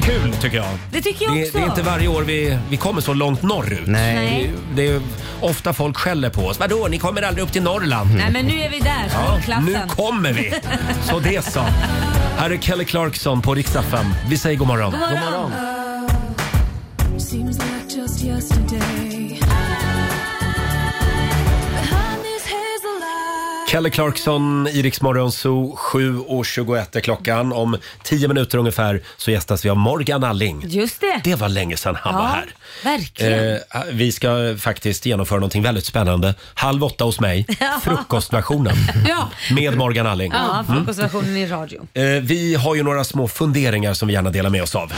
S1: Kul tycker jag.
S3: det tycker jag
S1: Det,
S3: också.
S1: det är inte varje år vi, vi kommer så långt norrut.
S3: Nej.
S1: Det, det är ofta folk skäller på oss. Vadå, ni kommer aldrig upp till Norrland?
S3: Nej, men nu är vi där.
S1: Ja,
S3: Ja,
S1: nu kommer vi! Så det så. Här är Kelly Clarkson på riksdag 5. Vi säger god morgon.
S2: Seems like just yesterday.
S1: Kelly Clarkson i Rix Morgon Zoo, 7.21 är klockan. Om 10 minuter ungefär så gästas vi av Morgan Alling.
S3: Just det.
S1: Det var länge sedan han
S3: ja,
S1: var här.
S3: Verkligen.
S1: Eh, vi ska faktiskt genomföra någonting väldigt spännande. Halv åtta hos mig,
S3: [LAUGHS] Ja.
S1: frukostversionen
S3: [LAUGHS] ja.
S1: med Morgan Alling.
S3: ja,
S1: Mm.
S3: frukostversionen i radio.
S1: Eh, Vi har ju några små funderingar som vi gärna delar med oss av.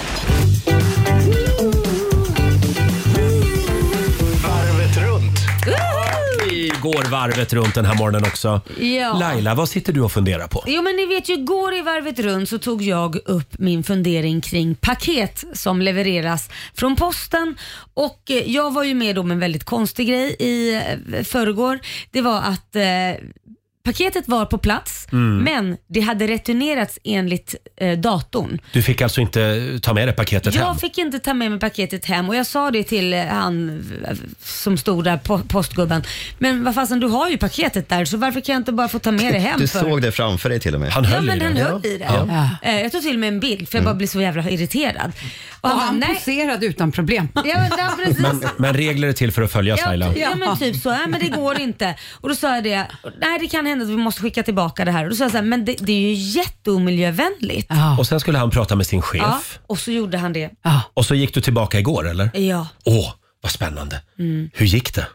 S2: Varvet runt.
S1: Vi går varvet runt den här morgonen också.
S3: Ja.
S1: Laila, vad sitter du och funderar på?
S3: Jo men ni vet ju, går i varvet runt så tog jag upp min fundering kring paket som levereras från posten och eh, jag var ju med om en väldigt konstig grej i eh, förrgår. Det var att eh, paketet var på plats
S1: Mm.
S3: men det hade returnerats enligt eh, datorn.
S1: Du fick alltså inte ta med dig paketet hem?
S3: Jag fick inte ta med mig paketet hem och jag sa det till eh, han eh, som stod där, po- postgubben. Men vad fasen, du har ju paketet där så varför kan jag inte bara få ta med det hem?
S4: Du
S3: för?
S4: såg det framför dig till och med.
S1: Han
S3: ja, men han höll i det.
S4: Ja.
S3: Eh, Jag tog till och med en bild för jag bara blev så jävla irriterad.
S6: Och
S3: bara,
S6: han
S3: nej.
S6: poserade utan problem.
S3: Ja, men, ja, precis.
S1: Men, men regler är till för att följas
S3: Ja,
S1: Laila.
S3: ja men typ så, ja, men det går inte. Och då sa jag det, nej det kan hända att vi måste skicka tillbaka det här. Och då sa jag så här, men det, det är ju jätteomiljövänligt.
S1: Och sen skulle han prata med sin chef.
S3: Ja, och så gjorde han det.
S1: Och så gick du tillbaka igår eller?
S3: Ja.
S1: Åh, vad spännande.
S3: Mm.
S1: Hur gick det?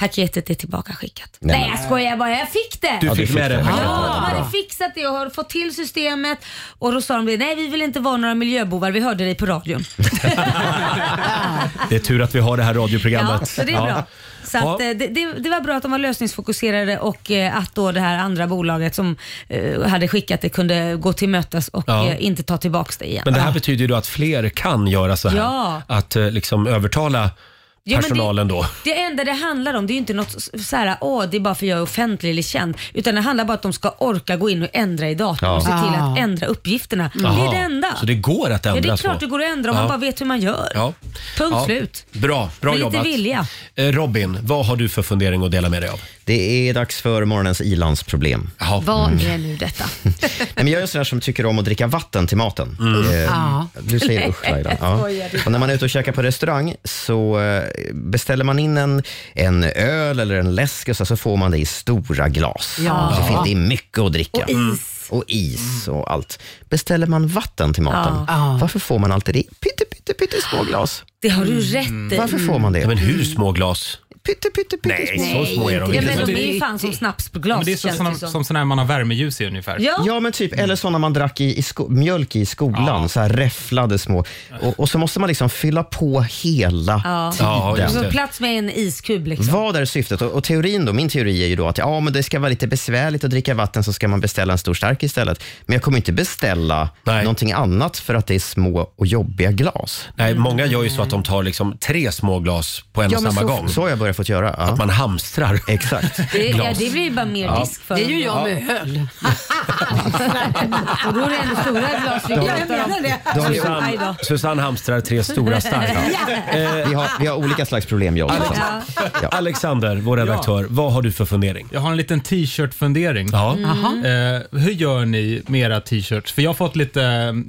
S3: Paketet är tillbaka skickat.
S1: Nej,
S3: Nej,
S1: men-
S3: jag skojar bara, jag fick det!
S1: Du Ja, fick du fick med det. det.
S3: Ja,
S1: Ja,
S3: de
S1: bra.
S3: hade fixat det och har fått till systemet och då sa de det, nej vi vill inte vara några miljöbovar, vi hörde dig på radion.
S1: Det är tur att vi har det här radioprogrammet.
S3: Ja, så det är
S1: Ja.
S3: bra. Så att, eh, det, det, det var bra att de var lösningsfokuserade och eh, att då det här andra bolaget som eh, hade skickat det kunde gå till mötes och
S1: Ja.
S3: eh, inte ta tillbaka det igen.
S1: Men det här betyder ju då att fler kan göra så här.
S3: Ja.
S1: Att eh, liksom övertala
S3: Ja, men
S1: personalen
S3: det,
S1: då.
S3: Det enda det handlar om, det är ju inte något s- så här, åh det är bara för jag är offentlig eller känd. Utan det handlar bara om att de ska orka gå in och ändra i datorn
S1: Ja.
S3: och se till
S1: Ah.
S3: att ändra uppgifterna. Det
S1: Jaha.
S3: är det enda.
S1: Så det går att ändra
S3: Ja, det är
S1: så.
S3: klart det går att ändra om
S1: Ja.
S3: man bara vet hur man gör.
S1: Ja.
S3: Punkt
S1: Ja.
S3: slut.
S1: Bra, bra
S3: Med
S1: jobbat.
S3: lite vilja.
S1: Eh, Robin, vad har du för fundering att dela med dig av?
S4: Det är dags för
S2: [LAUGHS]
S4: morgonens ilandsproblem.
S3: Vad
S1: Mm.
S3: är nu detta?
S4: Nej, men jag är en sån här som tycker om att dricka vatten till maten.
S1: Mm.
S4: Eh,
S2: Ja.
S4: Du
S2: [LAUGHS]
S4: säger usch Laila.
S2: Jag
S4: Ja.
S2: skojar.
S4: Och när man är ute och käkar på restaurang så eh, beställer man in en, en öl eller en läsk och så, så får man det i stora glas.
S2: Ja.
S4: Så fin- det är mycket att dricka.
S2: Och is.
S4: Och is och allt. Beställer man vatten till maten, varför får man alltid det i pytte, pytte, pytte små glas?
S3: Det har du rätt
S1: Mm.
S3: i.
S4: Varför får man det?
S1: Ja, men hur små glas?
S4: Pytte, pytte, pytte
S1: Nej, så små är de
S3: Ja,
S1: inte.
S3: men de är ju fan som snapsglas
S9: Men det är så,
S3: känns
S9: såna,
S3: det som.
S9: som såna här man har värmeljus i ungefär.
S3: Ja.
S4: men typ. Eller sådana man drack i, i sko- mjölk i skolan, så här räfflade små. Och, och så måste man liksom fylla på hela
S3: Ja.
S4: tiden.
S3: Så plats med en iskub liksom.
S4: Vad är syftet? Och, och teorin då, min teori är ju då att ja, men det ska vara lite besvärligt att dricka vatten så ska man beställa en stor stark istället. Men jag kommer inte beställa någonting annat för att det är små och jobbiga glas.
S1: Nej, många gör ju så att de tar liksom tre små glas på en
S4: Ja,
S1: och
S4: men
S1: samma
S4: så-
S1: gång.
S4: så har jag börjat tidigare fått göra. Att
S1: man hamstrar.
S4: Exakt.
S3: Det, ja, det blir ju bara mer
S4: Ja.
S3: disk för
S6: Det är ju
S3: honom.
S6: jag med öl.
S3: Och då är det ändå stora glas vi
S1: Ja,
S3: pratar
S1: jag
S3: om.
S6: menar det.
S3: Alltså, Aj då.
S1: Susanne, Susanne hamstrar tre
S3: [LAUGHS]
S1: stora starka.
S4: Vi, har, vi har olika slags problem jag och Susanne.
S1: Alexander, vår redaktör, vad har du för fundering?
S9: Jag har en liten t-shirt-fundering.
S3: Mm.
S1: Mhm.
S9: Eh, hur gör ni med era t-shirts? För jag har fått lite eh,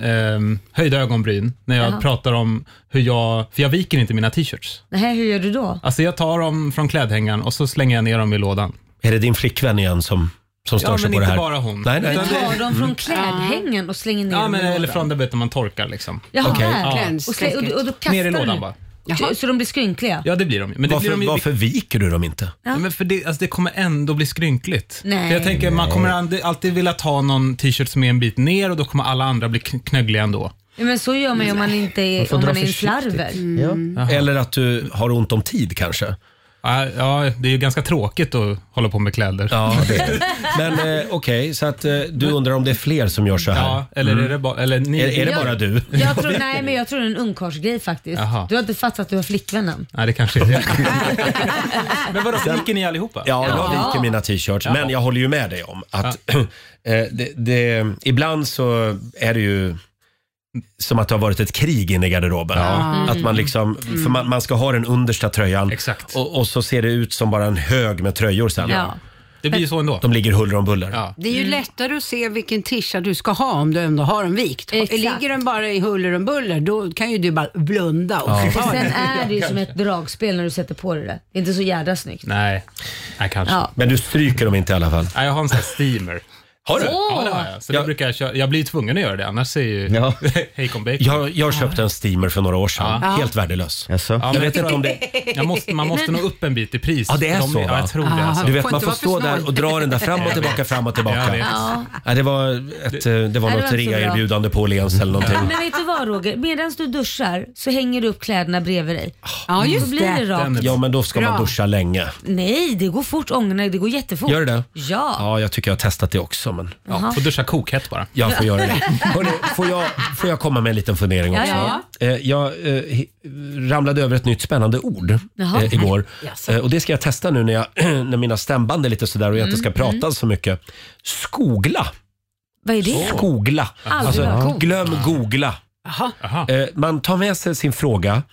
S9: höjda ögonbryn när jag
S3: Jaha.
S9: pratar om hur jag, för jag viker inte mina t-shirts.
S3: Nej, hur gör du då?
S9: Alltså jag tar dem från klädhängaren och så slänger jag ner dem i lådan.
S1: Är det din flickvän igen som, som
S9: ja,
S1: stör sig
S9: men
S1: på det
S9: inte
S1: här?
S9: bara hon.
S1: Nej, nej.
S3: Du
S9: Utan
S3: tar
S9: det-
S3: dem från klädhängen och slänger ner
S9: Ja,
S3: dem
S9: men,
S3: i
S9: eller
S3: lådan.
S9: från där vet man torkar liksom.
S3: Jaha,
S9: Okej.
S3: verkligen.
S9: Ja.
S3: Och, slä, och, och då kastar
S9: Ner i
S3: du.
S9: lådan bara.
S3: Så- Så de blir skrynkliga?
S9: Ja, det blir de ju. Men det
S1: Varför-
S9: blir de ju...
S1: varför viker du dem inte?
S9: Ja. Men för det, alltså det kommer ändå bli skrynkligt.
S3: Nej.
S9: För jag tänker, man kommer aldrig- alltid vilja ta någon t-shirt som är en bit ner och då kommer alla andra bli kn- knöggliga ändå.
S3: Ja, men så gör man ju om man inte
S1: Man
S3: är,
S1: får
S3: om
S1: dra
S3: man är en
S1: försiktigt. Mm.
S3: slarver. Mm.
S1: Eller att du har ont om tid kanske?
S9: Ja, det är ju ganska tråkigt att hålla på med kläder.
S1: Ja, det är det. Men eh, okej, så att eh, du undrar om det är fler som gör så här?
S9: Ja, eller är det bara- eller ni-
S1: Mm. Är, är det
S3: Jag-
S1: bara du?
S3: Jag tror, nej, men jag tror det är en ungkarlsgrej faktiskt.
S1: Jaha.
S3: Du har inte fattat att du har flickvän än.
S9: Nej, det kanske är det. [LAUGHS] men vadå, viker ni allihopa?
S1: Ja, jag
S3: Ja.
S1: viker mina t-shirts. Men jag håller ju med dig om att [CLEARS THROAT] eh, det, det, ibland så är det ju som att det har varit ett krig inne i garderoben.
S9: Ja.
S1: Att man liksom, för man, man ska ha den understa tröjan Och, och så ser det ut som bara en hög med tröjor sen.
S6: Ja.
S9: Det blir ju så ändå.
S1: De ligger huller om buller.
S6: Det är ju lättare att se vilken tisha du ska ha om du ändå har den vikt. Ligger den bara i huller om buller, då kan ju du bara blunda och
S3: Och
S6: ta
S3: sen
S6: den.
S3: är det ju som ett dragspel när du sätter på dig det. Det är inte så jädra snyggt.
S9: Nej, nej kanske.
S3: Ja.
S1: Men du stryker dem inte i alla fall?
S9: Nej, jag har en sån här steamer.
S1: Har du?
S9: Ja, det har jag. Så Det brukar jag, köra. jag blir ju tvungen att göra det, annars är ju [LAUGHS] hejkon bacon.
S1: Jag, jag köpte en steamer för några år sedan.
S9: Ja.
S1: Helt värdelös.
S9: Ja,
S1: jag
S9: men
S1: vet
S9: jag
S1: inte om det...
S9: Jag måste, man måste
S1: Men-
S9: nå upp en bit i pris.
S1: Ja, det är
S9: De-
S1: så.
S9: Ja,
S1: va?
S9: jag tror det. Alltså.
S1: Du vet, man får stå där och dra den där fram och tillbaka, [LAUGHS] fram och
S9: Jag
S1: tillbaka.
S9: vet.
S3: Ja.
S1: Ja, det var, ett, eh, det var
S3: Nej, det
S1: något
S3: var inte så bra.
S1: rea-erbjudande på Åhléns eller någonting.
S3: Ja, men vet du vad Roger? Medan du duschar så hänger du upp kläderna bredvid dig.
S6: Ja,
S3: Då blir det rakt.
S1: Ja, men då ska man duscha länge.
S3: Nej, det går fort. Ångorna, det går jättefort.
S1: Gör det det?
S3: Ja.
S1: Ja, jag tycker jag har testat det också. Men,
S3: Jaha. Får
S9: duscha kokhett bara.
S1: Jag får göra det. Hörrni, får, jag, får jag komma med en liten fundering
S3: Ja,
S1: också?
S3: ja,
S1: Eh, Jag eh, hi- ramlade över ett nytt spännande ord
S2: Jaha.
S1: eh, igår.
S2: Jaså.
S1: Eh, Och det ska jag testa nu när, jag, [CLEARS THROAT] när mina stämband är lite sådär och jag inte ska
S2: Mm,
S1: prata
S2: mm.
S1: så mycket. Skogla.
S3: Vad är det?
S1: Skogla.
S2: Aldrig
S1: Alltså,
S2: hört talas om.
S1: glöm googla. Eh, Man tar med sig sin fråga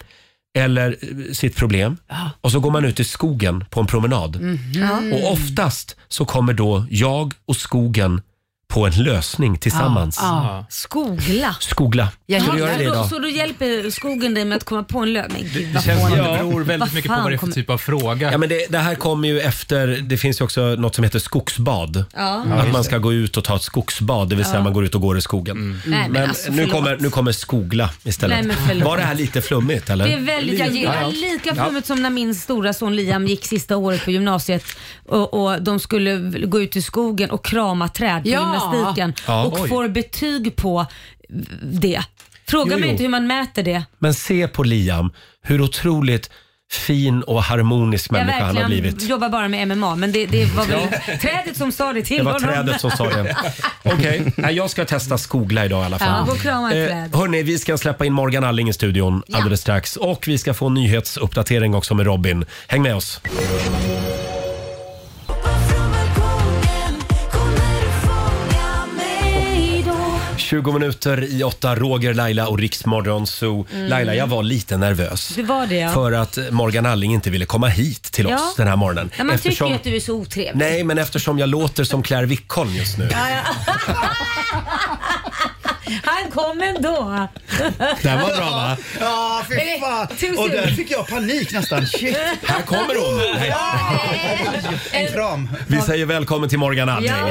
S1: eller eh, sitt problem och så går man ut i skogen på en promenad.
S3: Mhm.
S2: Ja.
S1: Och oftast så kommer då jag och skogen på en lösning tillsammans.
S3: Ja. Skogla.
S1: Skogla.
S3: Jaha,
S1: Ska du göra det
S3: så,
S1: idag?
S3: så då hjälper skogen dig med att komma på en lön? Men gud
S9: Det
S3: vad
S9: känns som att
S3: fånigt.
S9: det beror väldigt
S3: Vad
S9: mycket på
S3: fan
S9: vad det är för
S3: kommer-
S9: typ av fråga.
S1: Ja, men det, det här kommer ju efter, det finns ju också något som heter skogsbad.
S3: Ja. Ja,
S1: Att man
S3: just
S1: ska gå ut och ta ett skogsbad, det vill säga
S3: Ja.
S1: man går ut och går i skogen.
S3: Nej,
S1: men
S3: men alltså,
S1: nu,
S3: förlåt.
S1: kommer, nu kommer skogla istället.
S3: Nej, men förlåt.
S1: Var det här lite flummigt eller?
S3: Det är väldigt, jag gillar lika flummigt som när min stora son Liam gick sista året på gymnasiet och, och de skulle v- gå ut i skogen och krama träd på
S6: Ja.
S3: gymnastiken
S1: Ja.
S3: och
S1: Oj.
S3: får betyg på v- det. Fråga
S1: Jo,
S3: mig
S1: jo.
S3: inte hur man mäter det.
S1: Men se på Liam, hur otroligt fin och harmonisk människa han har blivit.
S3: jobbar bara med MMA men det, det var väl trädet som sa det till
S1: Det var
S3: honom.
S1: trädet som sa
S3: [LAUGHS]
S1: det. Okej, nej, jag ska testa Skogla idag i alla
S3: Ja,
S1: fall. Eh,
S3: gå och krama ett träd.
S1: hörni, vi ska släppa in Morgan Alling i studion alldeles strax. Och vi ska få en nyhetsuppdatering också med Robin. Häng med oss.
S2: Hej då.
S1: 20 minuter i åtta, Roger, Laila och Riksmorgon Zoo.
S3: Mm.
S1: Laila, jag var lite nervös.
S3: Det var det ja.
S1: För att Morgan Alling inte ville komma hit till
S3: Ja.
S1: oss den här morgonen.
S3: Nej, man tycker ju att du är så otrevlig.
S1: Nej, men eftersom jag låter som Claire Wickholm just nu.
S3: Ja, ja. Han kom ändå.
S1: Den var bra, va?
S17: Ja,
S1: Eh,
S17: fy fan. Och där fick jag panik nästan. Shit.
S1: Här kommer hon. Nej.
S17: En kram.
S1: Vi säger välkommen till Morgan Alling.
S17: Fan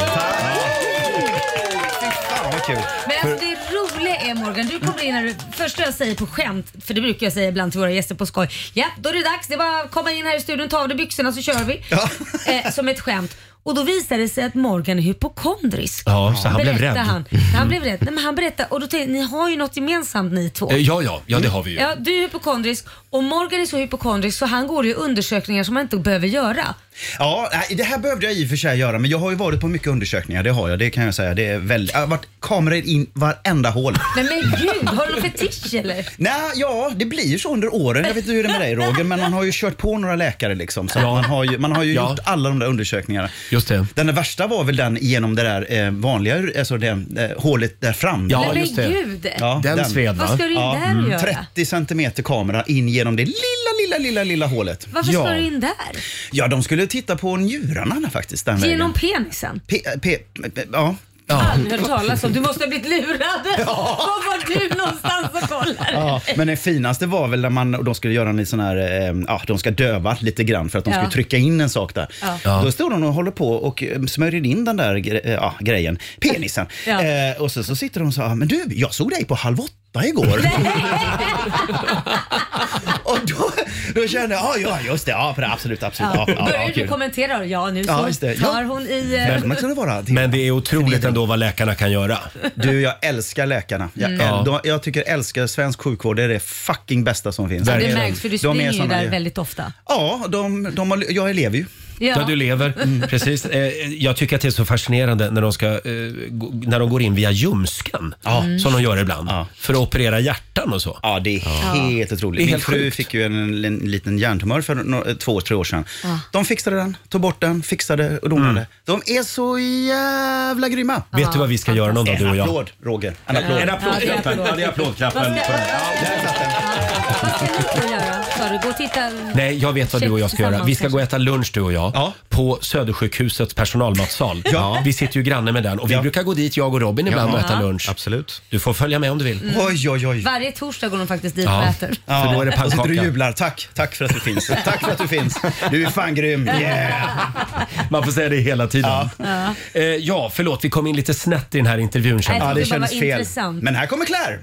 S17: vad kul.
S3: Men alltså det roliga är Morgan, du kommer in när du, första jag säger på skämt, för det brukar jag säga ibland till våra gäster på skoj. Ja, då är det dags. Det är bara att komma in här i studion, ta av dig byxorna så kör vi. Eh, som ett skämt. Och då visade det sig att Morgan är hypokondrisk.
S1: Ja, så han blev
S3: Berättade
S1: rädd.
S3: Han, han blev rädd. Nej, men han berättade och då tänkte jag, ni har ju något gemensamt ni två.
S1: Eh, Ja, ja, ja, det har vi ju.
S3: Ja, du är hypokondrisk och Morgan är så hypokondrisk så han går i undersökningar som han inte behöver göra.
S17: Ja, nej, det här behövde jag i och för sig göra, men jag har ju varit på mycket undersökningar, det har jag, det kan jag säga. Det är väldigt, jag har varit kameror in varenda hål.
S3: Nej men gud, har du någon fetisch eller?
S17: Nej, Ah, ja, det blir ju så under åren. Jag vet inte hur det är med dig Roger, men man har ju kört på några läkare liksom. Så att man har ju, man har ju
S1: Ja.
S17: gjort alla de där undersökningarna.
S1: Just det.
S17: Den värsta var väl den genom det där eh, vanliga alltså det, eh, hålet där fram.
S3: Ja, Nej, men just det. gud. Den sved, va? Vad ska du in där
S17: mm,
S3: och göra?
S17: 30 centimeter kamera in genom det lilla, lilla, lilla, lilla hålet.
S3: Varför slår du in där?
S17: Ja, de skulle titta på njurarna faktiskt. Den
S3: Genom
S17: vägen.
S3: penisen?
S17: P- p- p- ja.
S3: Aldrig hört talas om. Du måste ha blivit lurad. [LAUGHS] Var var du någonstans och kollade?
S17: Ja, men det finaste var väl när man, och de skulle göra en sån här, eh, ja, de ska döva lite grann för att de
S3: Ja.
S17: skulle trycka in en sak där.
S3: Ja.
S1: Ja.
S17: Då stod de och håller på och eh, smörjer in den där gre- eh, ja, grejen, penisen.
S3: Ja.
S17: Eh, och så, så sitter de och sa, "Ja, men du, jag såg dig på halv
S3: [LAUGHS]
S17: åtta igår. och då, då kände jag, "Ja, ja just det, ja absolut, absolut. Ja, ja, ja,
S3: Börjar du
S17: kul."
S3: kommentera då? Ja, nu så
S17: Ja, just det. Ja.
S3: tar hon i... eh,
S17: Men,
S1: men det är otroligt ändå vad läkarna kan göra.
S17: Du, jag älskar läkarna. Jag,
S3: Mm.
S17: äl,
S1: Ja.
S17: de, jag tycker älskar svensk sjukvård, det är det fucking bästa som finns.
S3: Ja, det märks för du
S17: De är
S3: springer ju
S17: såna-
S3: där väldigt ofta.
S17: Ja, de, de har, jag lever ju.
S3: Ja.
S1: Där du lever. Precis. Eh, Jag tycker att det är så fascinerande när de, ska, eh, gå- när de går in via ljumsken.
S17: Mm.
S1: Som de gör ibland. För att operera hjärtan och så.
S17: Ja, det är Helt
S1: Det
S17: otroligt.
S1: är
S17: Min
S1: helt
S17: fru
S1: sjukt.
S17: fick ju en, en liten hjärntumör för no, två, tre år sedan.
S1: Ja.
S17: De fixade den, tog bort den, fixade och donade. De är så jävla grymma.
S1: Vet du vad vi ska göra någon dag, du och
S17: En
S1: jag?
S17: applåd, Roger. En applåd.
S1: En applådklappen. Ja, det är applådklappen.
S3: Vad ska-
S1: för det här.
S3: Vad göra? Sa du? Gå och titta.
S1: Nej, jag vet vad du och jag ska göra. Vi ska
S3: Tillsammans
S1: gå och äta lunch du och jag. På Södersjukhusets personalmatsal.
S3: Ja.
S1: Vi sitter ju granne med den och vi brukar gå dit, jag och Robin, ibland
S3: Ja.
S1: och äta
S3: Ja.
S1: lunch. Absolut. Du får följa med om du vill.
S3: Mm. Oj,
S17: oj, oj.
S3: Varje torsdag går de faktiskt dit och
S1: Ja.
S3: äter.
S1: Ja. För då är det
S17: Och sitter du
S1: pannkaka.
S17: och jublar. Tack, tack för att du finns. [LAUGHS] Tack för att du finns. Du är fan grym. Yeah.
S1: Man får säga det hela tiden. Ja.
S3: Ja.
S1: Eh, ja, förlåt. Vi kom in lite snett i den här intervjun. känner
S3: Nej,
S1: jag.
S3: det Ja, det skulle bara kändes vara fel. intressant.
S17: Men här kommer Claire.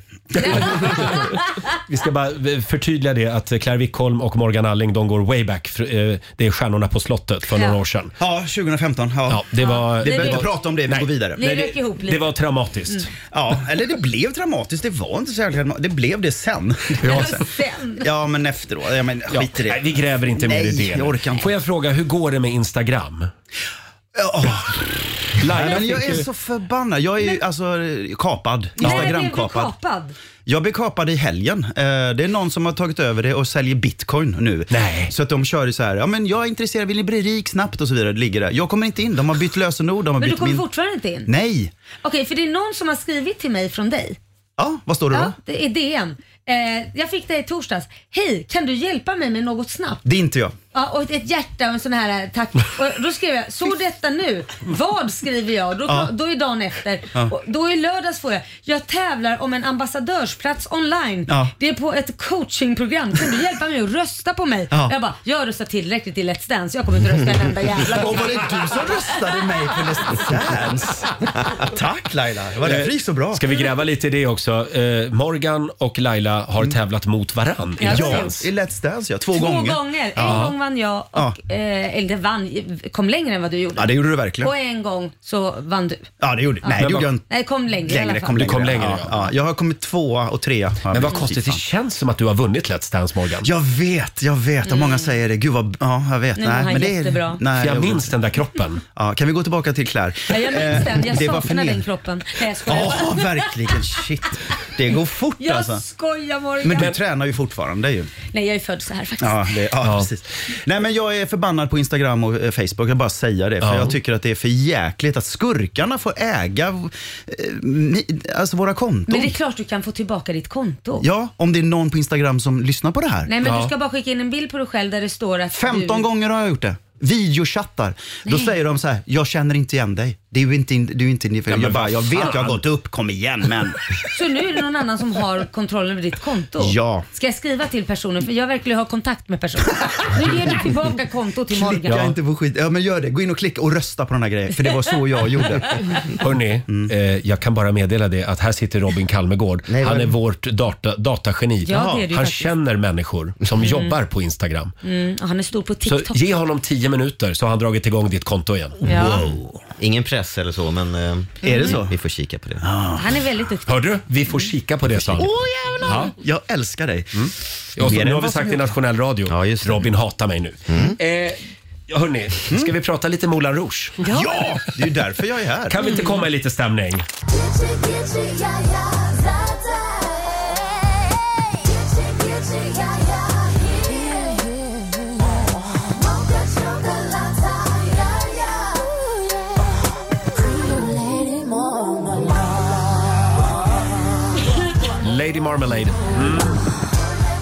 S1: Vi ska bara eh, förtydliga det att Claire Wickholm och Morgan Alling de går way back. Fr- eh, Det är Stjärnorna på slottet för några
S17: Ja.
S1: år sedan.
S17: Ja, 2015. Ja.
S1: det var,
S17: Vi behöver
S1: var-
S17: inte prata om det, vi
S1: Nej.
S17: går vidare.
S1: Nej, det- Det var traumatiskt.
S17: Ja, eller det blev dramatiskt. Det var inte så jävla dramatiskt. Det blev det sen.
S1: Ja,
S3: sen.
S17: Ja, men efteråt. Ja, men
S1: Ja,
S17: skit i det.
S1: nej, vi gräver inte mer i
S17: Nej,
S1: det.
S17: jag orkar
S1: Får jag fråga, hur går det med Instagram? Laila
S17: men jag
S1: fick
S17: är
S1: ju-
S17: så förbannad. Jag är ju alltså eh, kapad. Instagram-kapad.
S3: kapad?
S17: Jag blev kapad i helgen. Eh, Det är någon som har tagit över det och säljer bitcoin nu. Nej. Så att de kör ju så här, ja men jag är intresserad, vill ni bli rik snabbt och så vidare. Det ligger där. Jag kommer inte in, de har bytt lösenord, de har
S3: Men du
S17: bytt
S3: kommer
S17: min...
S3: fortfarande inte in?
S17: Nej!
S3: Okej, för det är någon som har skrivit till mig från dig.
S17: Ja, vad står det då?
S3: Ja, det är DN. Eh, jag fick det i torsdags. Hej, kan du hjälpa mig med något snabbt?
S17: Det är inte jag.
S3: Ja, och ett- ett hjärta och en sån här eh, tack. Och då skrev jag, så detta nu. Vad skriver jag? Då,
S17: Ja.
S3: då är dagen efter.
S17: Ja.
S3: Och då i lördags får jag, jag tävlar om en ambassadörsplats online.
S17: Ja.
S3: Det är på ett coachingprogram. Kan du hjälpa mig att rösta på mig?
S17: Ja.
S3: Jag bara, jag röstar tillräckligt i Let's Dance. Jag kommer inte rösta en enda jävla gång.
S17: Och var det du som röstade mig på [LAUGHS] Let's Dance? Tack Laila, det var därför det gick så bra.
S1: Ska vi gräva lite i det också? Eh, Morgan och Laila har
S17: Mm.
S1: tävlat mot varann i
S3: Ja,
S1: Let's
S3: det har
S1: Dance.
S17: I Let's Dance ja, två,
S3: Två gånger.
S17: gånger.
S3: En
S1: Ja.
S3: gång vann jag, och, eh, eller det vann, kom längre än vad du gjorde.
S17: Ja, det gjorde du verkligen.
S3: Och en gång så vann du.
S17: Ja, det gjorde Nej, det gjorde jag inte.
S3: Nej, kom längre, i alla
S17: Längre,
S3: fall.
S17: kom längre.
S1: kom längre,
S17: ja.
S1: ja.
S17: Ja. Jag har kommit tvåa och trea.
S1: Men vad konstigt, det känns som att du har vunnit Let's Dance Morgan.
S17: Jag vet, jag vet. Och många säger det. Gud vad, ja jag vet.
S3: Nej, men han är jättebra.
S1: För jag minns den där kroppen.
S17: Ja, kan vi gå tillbaka till Claire?
S3: Nej, jag minns den. Jag
S17: Eh, det var
S3: saknar
S17: förned-
S3: den kroppen. Nej, jag skojar.
S17: Ja, verkligen. Shit. Det går fort
S3: Jag
S17: alltså.
S3: skojar Morgan.
S17: Men du tränar ju fortfarande ju.
S3: Nej, jag är född så här faktiskt.
S17: Ja, det, ja, precis. Nej, men jag är förbannad på Instagram och eh, Facebook. Jag bara säger det. För
S1: Ja.
S17: jag tycker att det är för jäkligt att skurkarna får äga eh, ni- alltså våra konton.
S3: Men det är klart du kan få tillbaka ditt konto.
S17: Ja, om det är någon på Instagram som lyssnar på det här.
S3: Nej, men
S17: ja.
S3: du ska bara skicka in en bild på dig själv där det står att
S17: 15
S3: du...
S17: gånger har jag gjort det. Videochattar. Då
S3: Nej.
S17: säger de så här, jag känner inte igen dig. Det är ju inte, in- du är inte in, för
S1: Ja, men
S17: jag, bara,
S1: vad
S17: jag vet
S1: fan."
S17: jag har gått upp, kom igen
S4: [LAUGHS]
S17: men.
S3: Så nu är det någon annan som har kontrollen över ditt konto?
S17: Ja.
S3: Ska jag skriva till personen? För jag verkligen har kontakt med
S17: [LAUGHS]
S3: personen. Nu ger du tillbaka kontot till Morgan.
S17: Klicka inte på skit. Ja men gör det. Gå in och klicka och rösta på den här grejen. För det var så jag gjorde.
S1: Hörni,
S17: Mm.
S1: eh, jag kan bara meddela det att här sitter Robin Kalmegård. Han
S17: vad-
S1: är vårt data, datageni.
S3: Ja, det är det ju
S1: Han
S3: faktiskt.
S1: känner människor som
S3: Mm.
S1: jobbar på Instagram.
S3: Mm, och han är stor på
S1: Så
S3: TikTok.
S1: ge honom 10 minuter så har han dragit igång ditt konto igen.
S3: Ja.
S4: Wow. [LAUGHS] Ingen press eller så, men... eh,
S1: Är det så?
S4: Vi får kika på det.
S3: Han är väldigt duktig.
S1: Hörde du? Vi får kika på det sa han.
S3: Åh, jävlar!
S17: Jag älskar dig.
S1: Och så,
S17: Mer
S1: nu
S17: än
S1: har vi
S17: vad som
S1: sagt i
S17: är- Mm.
S1: nationell radio. Robin hatar mig nu. Eh, Ja, hörni, ska vi prata lite Moulin Rouge?
S2: Ja.
S1: det är ju därför jag är här. Kan vi inte komma i lite stämning? Lady Marmalade. Mm.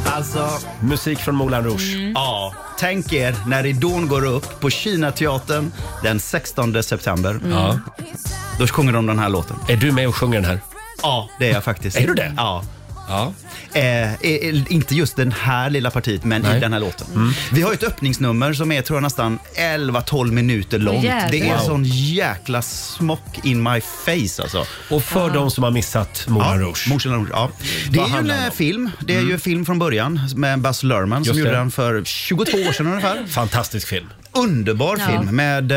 S17: Alltså,
S1: musik från Moulin Rouge.
S4: Mm.
S17: Ja, tänk er när ridån går upp på Kinateatern den 16 september.
S2: Mm. Ja.
S17: Då sjunger de den här låten.
S1: Är du med och sjunger den här?
S17: Ja, det är jag faktiskt.
S1: Är du det?
S17: Ja.
S1: Ja.
S17: Eh, eh, inte just den här lilla partiet, men
S1: Nej. Mm.
S17: i den här låten. Vi har ett öppningsnummer som är tror jag, nästan 11-12 minuter långt.
S1: Jävlar.
S17: Det är en
S1: Wow.
S17: sån jäkla smock in my face alltså.
S1: Och för de som har missat Moulin
S17: ja,
S1: Rouge.
S17: Moulin Rouge ja. Det är ju en
S1: handlar
S17: eh, film. Det
S1: Mm.
S17: är ju en film från början med Baz Luhrmann som
S1: Just
S17: gjorde
S1: det.
S17: den för 22 år sedan ungefär.
S1: Fantastisk film.
S17: Underbar
S1: Ja.
S17: film med,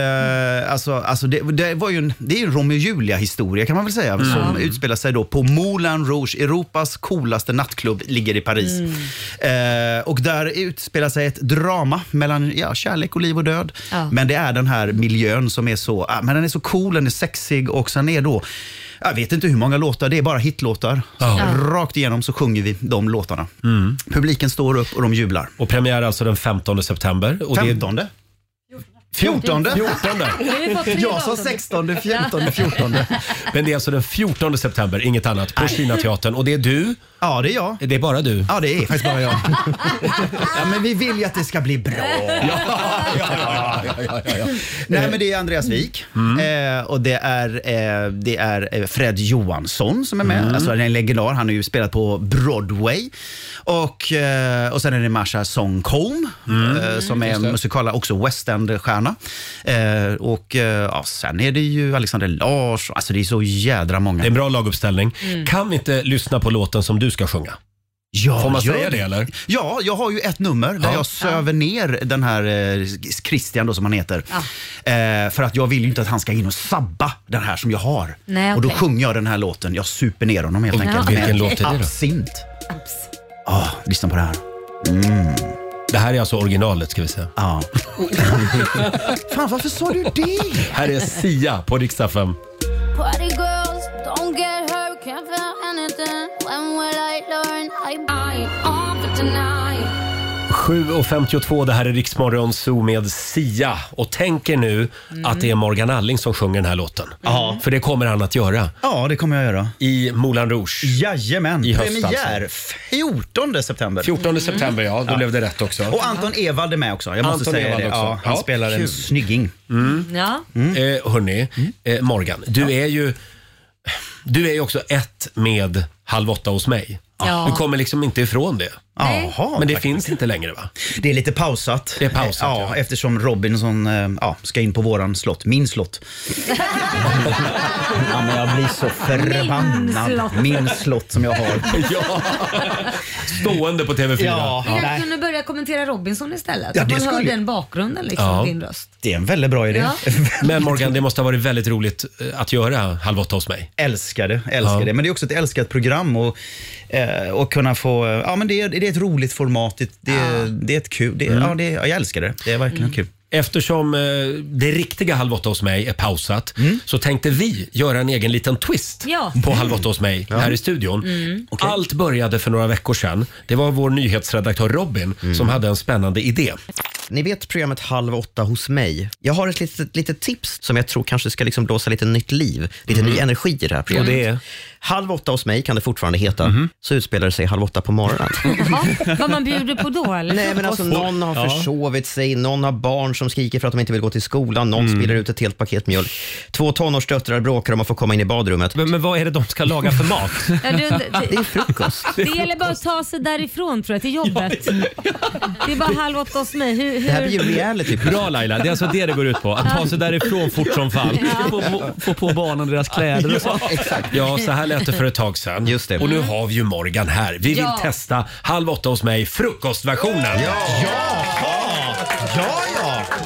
S17: eh, alltså, alltså det, det var ju en, det är ju en Romeo och Julia historia kan man väl säga
S1: Mm.
S17: som
S1: Ja.
S17: utspelar sig då på Moulin Rouge, Europas coolaste nattklubb, ligger i Paris.
S1: Mm.
S17: Eh, och där utspelar sig ett drama mellan ja, kärlek och liv och död.
S2: Ja.
S17: Men det är den här miljön som är så, ah, men den är så cool, den är sexig och sen är då, jag vet inte hur många låtar, det är bara hitlåtar.
S1: Ja. Mm.
S17: Rakt igenom så sjunger vi de låtarna. Publiken står upp och de jublar.
S1: Och premiär alltså den 15 september. Och
S17: 15?
S1: Det är...
S17: 14.
S1: 14.
S2: Vi får tre
S17: Jag sa
S2: datum.
S17: 16, 14, 14.
S1: Men det är alltså den 14 september, inget annat, på Kinateatern. Och det är du?
S17: Ja, det är jag.
S1: Det är bara du?
S17: Ja, det är [LAUGHS] faktiskt bara jag. Ja, men vi vill ju att det ska bli bra. Nej, men det är Andreas Wik eh, och det är, eh, det är eh, Fred Johansson som är med.
S2: Mm.
S17: Alltså, han är en legendar. Han har ju spelat på Broadway. Och, eh, och sen är det Marsha Song Combs eh, som är
S2: just det.
S17: musikala, också West End-stjärna. Eh, och eh, ja, sen är det ju Alexander Lars. Alltså det är så jädra många.
S1: Det är en bra laguppställning.
S17: Mm.
S1: Kan vi inte lyssna på låten som du ska sjunga?
S17: Ja,
S1: Får man
S17: gör
S1: säga det, eller?
S17: Ja, jag har ju ett nummer där jag söver ner den här eh, Christian då som han heter. Eh, för att jag vill ju inte att han ska in och sabba den här som jag har.
S2: Nej,
S17: Och då
S2: okej.
S17: sjunger jag den här låten. Jag super ner honom helt
S2: Ja,
S17: enkelt.
S2: Vilken
S17: Med
S2: låt är det då?
S17: Absint. Ah, lyssna på det här. Mm.
S1: Det här är alltså originalet ska vi säga. [LAUGHS]
S17: Ja. Fan, varför sa du det?
S1: Här är Sia på riksdag 5.
S18: Party girls, don't get hurt, can't feel anything. When will I learn? I'm on for tonight.
S1: 7.52, det här är Riksmorgon Zoo med Sia. Och tänk er nu
S17: Mm.
S1: att det är Morgan Alling som sjunger den här låten. För det kommer han att göra.
S17: Ja, det kommer jag göra.
S1: I Moulin Rouge.
S17: Jajamän,
S1: I höst
S17: Premiär
S1: alltså.
S17: 14 september.
S1: 14 september, ja. Då blev det rätt också.
S17: Och Anton Ewald är med också. Jag måste
S1: Anton
S17: säga
S1: Ewald
S17: det.
S1: också.
S17: Ja, han
S1: Ja,
S17: spelar en
S1: kul.
S17: snygging.
S1: Mm.
S3: Ja.
S1: Mm. Eh, hörni, eh, Morgan, du är ju du är ju också ett med Halv åtta hos mig.
S3: Ja.
S1: Du kommer liksom inte ifrån det.
S17: Nej.
S1: Men det
S17: tack.
S1: finns inte längre va?
S17: Det är lite pausat. Det är pausat
S1: [LAUGHS]
S17: ja, eftersom Robinson eh, ja, ska in på våran slott,
S1: [LAUGHS]
S17: min slott. ja, men jag blir så förbannad.
S2: Min
S17: Min
S2: slott.
S17: slott, som jag har. ja.
S1: Stående på TV4.
S17: Ja,
S3: Vi kanske
S17: nej.
S3: kunde börja kommentera Robinson istället.
S1: Ja,
S3: att
S1: det
S3: man hör
S1: skulle-
S3: den bakgrunden liksom,
S1: Ja.
S3: din röst.
S17: Det är en väldigt bra
S3: idé. Ja.
S1: Men Morgan, det måste ha varit väldigt roligt eh, att göra Halv åtta hos mig.
S17: Älskar det, älskar
S1: Ja.
S17: det. Men det är också ett älskat program och, eh, och kunna få, eh, ja men det är, det är ett roligt format, det, det, är- det är ett kul, det, är-
S1: Mm.
S17: ja, det, är- ja, jag älskar det. Det är verkligen
S1: Mm.
S17: kul.
S1: Eftersom eh, det riktiga Halv åtta hos mig är pausat så tänkte vi göra en egen liten twist
S2: Ja.
S1: på Halv åtta hos mig här i studion.
S2: Mm.
S1: Allt började för några veckor sedan. Det var vår nyhetsredaktör Robin som hade en spännande idé.
S4: Ni vet programmet Halv åtta hos mig. Jag har ett litet, litet tips som jag tror kanske ska liksom blåsa lite nytt liv, lite
S17: Mm.
S4: ny energi i det här programmet.
S1: Och det är?
S4: Halv åtta hos mig kan det fortfarande heta.
S17: Mhm.
S4: Så utspelar det sig halv åtta på morgonen.
S3: [LAUGHS]
S17: [LAUGHS]
S3: Vad man bjuder på då eller?
S4: Nej, men alltså, någon har
S3: Ja.
S4: försovit sig, någon har barn som skriker för att de inte vill gå till skolan, någon
S17: Mm.
S4: spiller ut ett helt paket mjölk. Två tonårsdöttrar bråkar om att få komma in i badrummet.
S1: Men, vad är det de ska laga för [LAUGHS] mat?
S3: Ja, du, det-
S4: [LAUGHS] det är frukost.
S3: [LAUGHS] Det gäller bara att ta sig därifrån tror jag, till jobbet. [LAUGHS] Det är bara halv åtta hos mig. Hur, hur...
S4: reality.
S1: Bra Laila, det är alltså det det går ut på. Att ta sig därifrån fort som fan.
S2: Ja.
S1: Få- Få på barnen deras kläder och så.
S2: Ja, exakt.
S1: Ja, så här lät det för ett tag sedan. Just Och nu har vi ju Morgan här. Vi vill
S2: Ja.
S1: testa Halv åtta hos mig, frukostversionen.
S17: Ja, ja.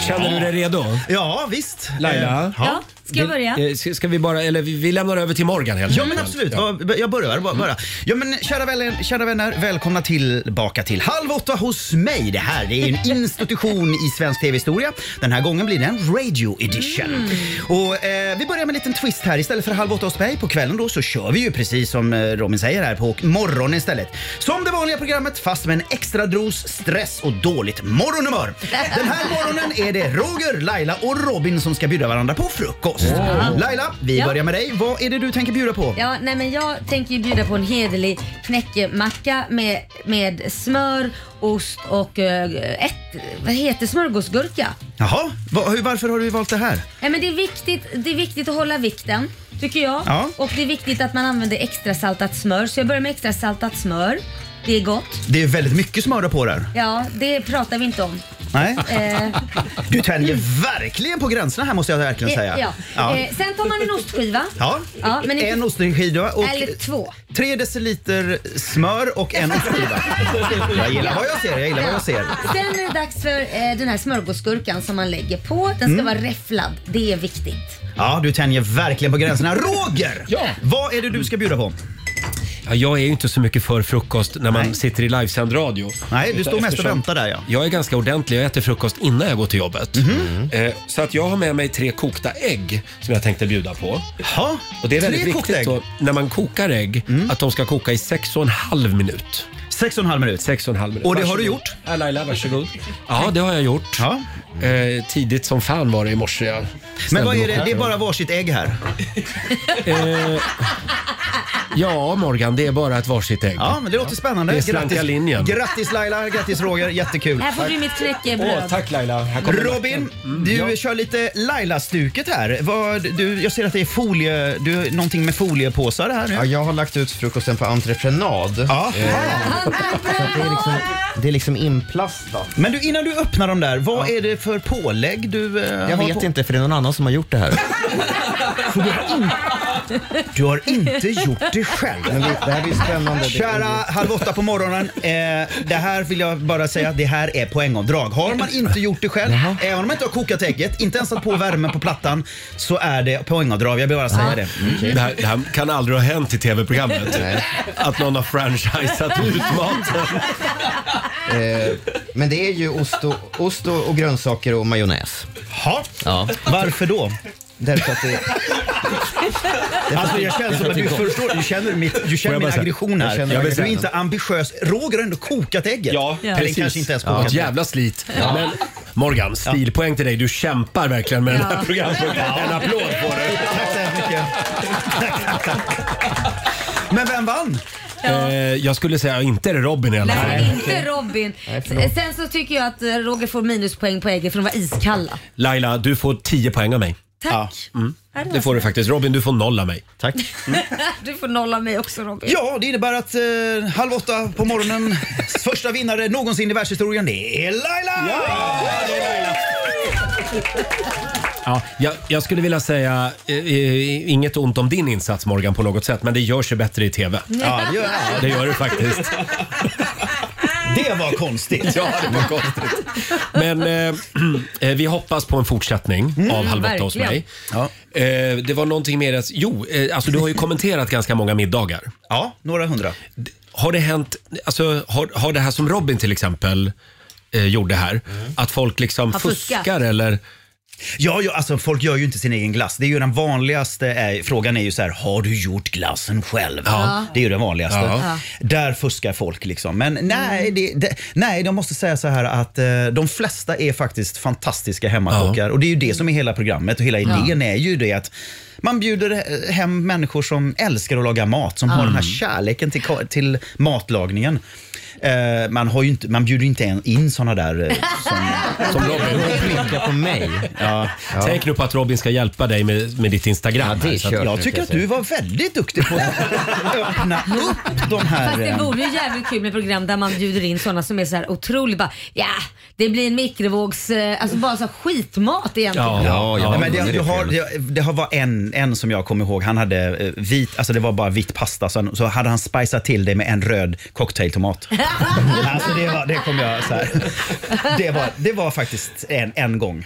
S1: Känner du dig redo?
S17: Ja, visst.
S1: Laila?
S17: Eh, ja.
S3: Ja. Ska Ska jag börja?
S1: Eh, Ska, ska vi bara, eller vi, vi lämnar över till Morgan helt
S17: Ja,
S1: enkelt.
S17: men absolut. Ja, Jag börjar bara. bara. Ja, men, kära, vänner, kära vänner, välkomna tillbaka till Halv åtta hos mig. Det här det är en institution i svensk tv-historia. Den här gången blir det en radio edition. Och, eh, vi börjar med en liten twist här. Istället för Halv åtta hos mig på kvällen då, så kör vi ju precis som eh, Robin säger här på morgonen istället. Som det vanliga programmet fast med en extra dos stress och dåligt morgonhumör. Den här morgonen är det Roger, Laila och Robin som ska bjuda varandra på frukost.
S3: Wow.
S17: Laila, vi
S3: Ja.
S17: börjar med dig. Vad är det du tänker bjuda på?
S3: [LAUGHS] Ja, nej men jag tänker ju bjuda på en hederlig knäckemacka med, med smör, ost och eh, ett, vad heter smörgåsgurka.
S17: Jaha, va, hur, varför har du valt det här?
S3: Nej, men det, är viktigt, det är viktigt att hålla vikten, tycker jag.
S17: Ja.
S3: Och det är viktigt att man använder extra saltat smör. Så jag börjar med extra saltat smör. Det är gott.
S17: Det är väldigt mycket smör på där.
S3: Ja, det pratar vi inte om.
S17: Nej?
S3: Eh.
S17: Du tänjer verkligen på gränserna här måste jag verkligen säga.
S3: Ja. Eh, sen tar man en ostskiva.
S17: Ja.
S3: Ja, men inte-
S17: en ostskiva och
S3: Eller två.
S17: tre deciliter smör och en ostskiva. Jag gillar vad jag ser, jag gillar vad jag ser.
S3: Sen är det dags för eh, den här smörgåsgurkan som man lägger på. Den ska
S17: Mm.
S3: vara räfflad. Det är viktigt.
S17: Ja, du tänjer verkligen på gränserna. Roger! Ja. Vad är det du ska bjuda på?
S1: Ja, jag är ju inte så mycket för frukost när man sitter i livesänd radio.
S17: Nej, du
S1: Utan
S17: står mest och
S1: eftersom
S17: väntar där, ja.
S1: Jag är ganska ordentlig. Jag äter frukost innan jag går till jobbet.
S17: Mhm.
S1: Eh, Så att jag har med mig tre kokta ägg som jag tänkte bjuda på.
S17: Ha?
S1: Och det är
S17: Tre
S1: väldigt
S17: kokta
S1: viktigt
S17: ägg? Mm.
S1: då, när man kokar ägg att de ska koka i sex och en halv minut.
S17: Sex och en halv minut?
S1: Sex och en halv minut.
S17: Och det har
S1: Varsågod.
S17: du gjort?
S1: Ja, Laila, varsågod. Ja, det har jag gjort. Eh, tidigt som fan var det i morse. Jag
S17: Men
S1: ställde
S17: vad är
S1: mig
S17: det?
S1: upp.
S17: Det är bara varsitt ägg här.
S1: Eh, ja, Morgan, det är bara ett varsitt ägg.
S17: Ja, men det låter spännande.
S1: Det slank jag linjen.
S17: Grattis Laila, grattis Roger, jättekul.
S3: Här får du mitt knäckebröd.
S1: Åh, tack Laila. Här kommer
S17: Robin,
S1: Mm.
S17: du kör lite Laila-stuket här. Vad, du, jag ser att det är folie, du, någonting med foliepåsar här nu.
S4: Ja, jag har lagt ut frukosten på entreprenad.
S17: Ja.
S4: Eh, så att det, är liksom, det är liksom inplastat.
S17: Men du, innan du öppnar dem där, vad är det för pålägg du eh,
S4: Jag
S17: har
S4: vet
S17: på?
S4: inte, för det är någon annan som har gjort det här.
S17: Du har
S1: [LAUGHS]
S17: inte gjort det själv.
S4: Men det- det här blir spännande.
S17: Kära Halv åtta på morgonen. Eh, det här vill jag bara säga att det här är poängavdrag. Har man inte gjort det själv, även om man inte har kokat ägget, inte ens satt på värmen på plattan, så är det poängavdrag. Jag vill bara säga det.
S1: Det, här, det här kan aldrig ha hänt i tv-programmet. att någon har franchisat ut maten.
S4: Eh, men det är ju ost och, ost och, och grönsaker och majonnäs.
S17: Ha.
S4: Ja.
S17: Varför då?
S4: Därför att det...
S17: Alltså jag känner som att du förstår, du känner, mitt, du
S4: Får jag
S17: känner
S4: bara
S17: min
S4: säga-
S17: aggression
S4: jag
S17: här.
S4: känner
S17: du är
S4: aggressionen.
S17: inte ambitiös. Roger har ändå kokat ägget.
S1: Ja,
S17: Eller kanske inte ens
S1: Ja,
S17: kokat
S1: Ett jävla slit.
S17: Ja.
S1: Men Morgan, stilpoäng till dig. Du kämpar verkligen med den här programpunkten. En applåd på dig.
S17: Tack så hemskt mycket. Tack, tack, tack. Men vem vann?
S1: Eh, jag skulle säga inte är det Robin i alla fall.
S3: Nej, inte Robin.
S1: Nej, förlåt.
S3: Sen så tycker jag att eh, Roger får minuspoäng på ägget för de var iskalla.
S1: Laila, du får 10 poäng av mig.
S3: Tack.
S1: Mm.
S3: Ja, det var
S1: Det får du
S17: alltså?
S3: snällt.
S1: faktiskt. Robin, du får noll av mig.
S4: Tack.
S3: [LAUGHS] du får nolla mig också Robin.
S17: Ja, det innebär att eh, halv åtta på morgonen, första vinnare någonsin i världshistorien, det är Laila!
S1: Ja, jag, jag skulle vilja säga, eh, eh, inget ont om din insats Morgan på något sätt, men det gör sig bättre i TV.
S17: Ja, det gör det.
S1: det gör det faktiskt.
S17: Det var konstigt.
S1: [LAUGHS] Ja, det var konstigt. Men eh, eh, [CLEARS THROAT] vi hoppas på en fortsättning av Halv åtta hos mig.
S17: Mm, verkligen.
S1: Eh, det var någonting mer, att- jo, eh, alltså du har ju kommenterat ganska många middagar.
S17: Ja, några hundra.
S1: Har det hänt, alltså har, har det här som Robin till exempel eh, gjorde här,
S17: Mm.
S1: att folk liksom
S17: Har
S1: fuskar
S17: fuskat.
S1: eller?
S17: Ja, ja, alltså folk gör ju inte sin egen glass. Det är ju den vanligaste eh, frågan är ju så här, har du gjort glassen själv?
S1: Ja.
S17: Det är ju den vanligaste.
S1: Ja. Mm.
S17: Där fuskar folk liksom. Men nej, det, det, nej, de måste säga så här att eh, de flesta är faktiskt fantastiska hemmakockar. Och det är ju det som är hela programmet och hela
S1: Ja.
S17: idén är ju det att man bjuder eh, hem människor som älskar att laga mat, som har
S1: Mm.
S17: den här kärleken till, ka- till matlagningen. Eh, man, har ju inte, man bjuder ju inte en- in såna där eh,
S1: [LAUGHS]
S17: som,
S1: Som Robin.
S17: blinkar på mig. Ja.
S1: Tänk nu på att Robin ska hjälpa dig med, med ditt Instagram.
S17: Ja, det är
S1: här, så
S17: kört nu, Jag tycker kan jag att du säga. var väldigt duktig på att öppna upp de
S3: Fast
S17: här...
S3: det
S17: eh,
S3: vore ju jävligt kul med program där man bjuder in sådana som är så här otroligt bara, ja, det blir en mikrovågs, eh, alltså bara så här skitmat egentligen.
S17: Nej,
S4: det
S17: men det,
S4: är
S17: du har,
S4: trevligt.
S17: det, det har var en, en som jag kommer ihåg. Han hade eh, vit, alltså det var bara vit pasta, så, så hade han spicat till det med en röd cocktailtomat. Alltså det, var, det kom jag [LAUGHS] så här. Det var, det var faktiskt en, en gång.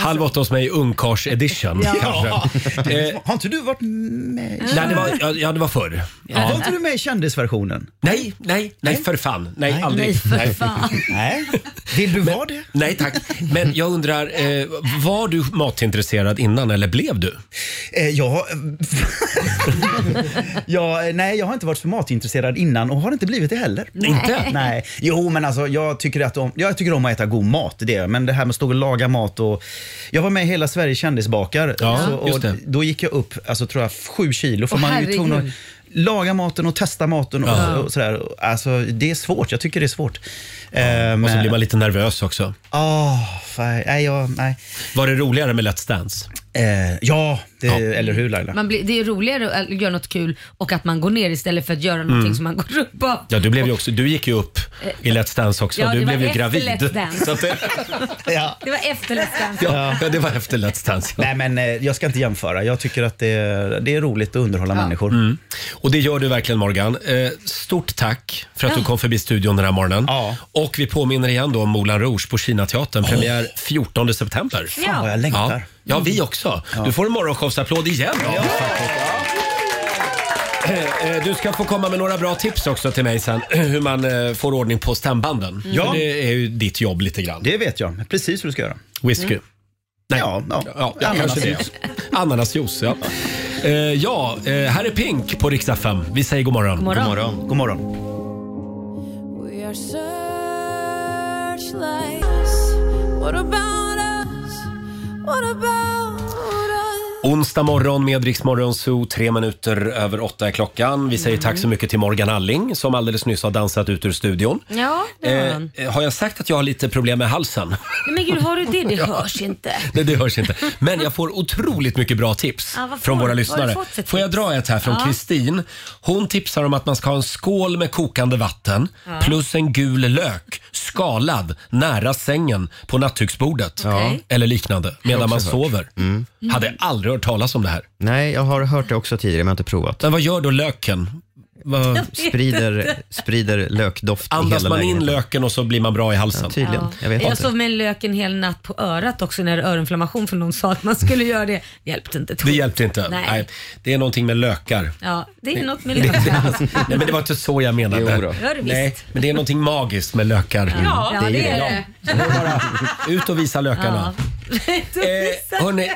S1: Halv åtta hos mig, ungkars edition
S17: Ja.
S1: kanske. Eh,
S17: Har inte du varit med?
S1: nej, det var, ja, ja, det var förr.
S17: Var
S1: Ja.
S17: inte du med i kändisversionen?
S1: Nej, nej, nej för fan. Nej, aldrig. Nej.
S17: Nej. Vill du vara det?
S1: Nej tack. Men jag undrar, eh, var du matintresserad innan eller blev du?
S17: Ja, Eh, [LAUGHS] Ja, eh, nej, jag har inte varit så matintresserad innan och har inte blivit det heller.
S1: Nej. Inte?
S17: [LAUGHS] Nej. Jo, men alltså jag tycker, att om, jag tycker om att äta god mat, det är jag. Men det här med att stå och laga mat och... Jag var med i Hela Sverige kändisbakar.
S1: Ja,
S17: så, och
S1: just det.
S17: Då gick jag upp, alltså tror jag, sju kilo. För
S1: Åh,
S17: man är ju tvungen att
S1: herregud.
S17: laga maten och testa maten och,
S1: Ja.
S17: och sådär. Alltså, det är svårt. Jag tycker det är svårt. Eh,
S1: Och så blir man lite nervös också.
S17: Oh, nej, jag, nej. Eh,
S1: Var det roligare med Let's Dance?
S17: ja, det, eller
S1: [LAUGHS]
S17: hur Laila?
S19: Man blir, det är roligare att göra något kul och att man går ner istället för att göra
S1: Mm.
S19: någonting som man går upp av.
S1: Ja, du, blev ju också, du gick ju upp i Let's Dance också.
S19: Eh, Ja, det
S1: du
S19: var
S1: blev ju
S19: efter
S1: gravid.
S19: Let's Dance.
S1: Så att det,
S17: ja.
S19: Det var efter Let's Dance.
S1: Ja, det var efter Let's Dance.
S17: Nej, men eh, jag ska inte jämföra. Jag tycker att det, det är roligt att underhålla människor.
S1: Mm. Och det gör du verkligen Morgan. Eh, stort tack för att
S19: Ja.
S1: du kom förbi studion den här morgonen. Och vi påminner igen då om Moulin Rouge på Kinateatern. Premiär 14 september.
S17: Fan, vad jag längtar. Mm.
S1: Ja, ja vi också. Du får en morgonshowsapplåd igen. då. Eh, eh, Du ska få komma med några bra tips också till mig sen [CLEARS THROAT] hur man eh, får ordning på stambanden.
S17: Mm. Ja.
S1: För Det är ju ditt jobb lite grann.
S17: Det vet jag. Precis hur du ska göra.
S1: Whisky.
S17: Mm.
S1: Nej.
S17: Ja, ja.
S1: ja kanske det.
S17: Ananasjuice.
S1: Ananasjuice, ja. Eh, ja, eh, här är Pink på riksdag 5. Vi säger god morgon.
S19: God morgon. God morgon.
S17: God morgon.
S2: We are searchlights. What about us? What about us?
S1: Onsdag morgon med Rix Morgon Zoo, tre minuter över åtta är klockan. Vi säger tack
S19: Mm.
S1: så mycket till Morgan Alling som alldeles nyss har dansat ut ur studion.
S3: Ja, det var han.
S1: Eh, har jag sagt att jag har lite problem med halsen? [LAUGHS]
S3: Nej, Men gud, har du det? Det
S1: Ja.
S3: hörs inte.
S1: Nej, det hörs inte. Men jag får otroligt mycket bra tips
S3: Ja, vad får
S1: från
S3: du?
S1: våra
S3: Vad har du
S1: lyssnare.
S3: fått för tips?
S1: Får jag dra ett här från
S3: Ja.
S1: Kristin? Hon tipsar om att man ska ha en skål med kokande vatten
S2: Ja.
S1: plus en gul lök skalad nära sängen på nattduksbordet
S4: Okej.
S1: eller liknande medan
S4: också
S1: man
S4: hört.
S1: sover.
S4: Mm.
S1: Hade aldrig hört talas om det här.
S4: Nej, jag har hört det också tidigare men jag har inte
S17: [LAUGHS]
S4: provat.
S1: Men vad gör då löken? Vad...
S4: Sprider, sprider lökdoft
S1: Andas
S4: i hela
S1: man in
S4: lägenheten.
S1: löken och så blir man bra i halsen?
S4: Ja, typ. tydligen. Jag vet
S19: Jag
S4: inte.
S19: sov med lök en hel natt på örat också när det är öroninflammation för någon sa att man skulle göra det. Det hjälpte inte. ett
S1: Det
S19: skit.
S1: hjälpte inte.
S19: Nej.
S1: Nej. Det är någonting med lökar.
S19: Ja, det är något med
S1: Det-
S19: lök.
S1: Nej, men det var inte så jag menade.
S19: Gör det visst.
S1: Nej, men det är någonting magiskt med lökar.
S19: Ja,
S1: Mm.
S19: det är det.
S1: Ut och visa lökarna. Eh, hörni,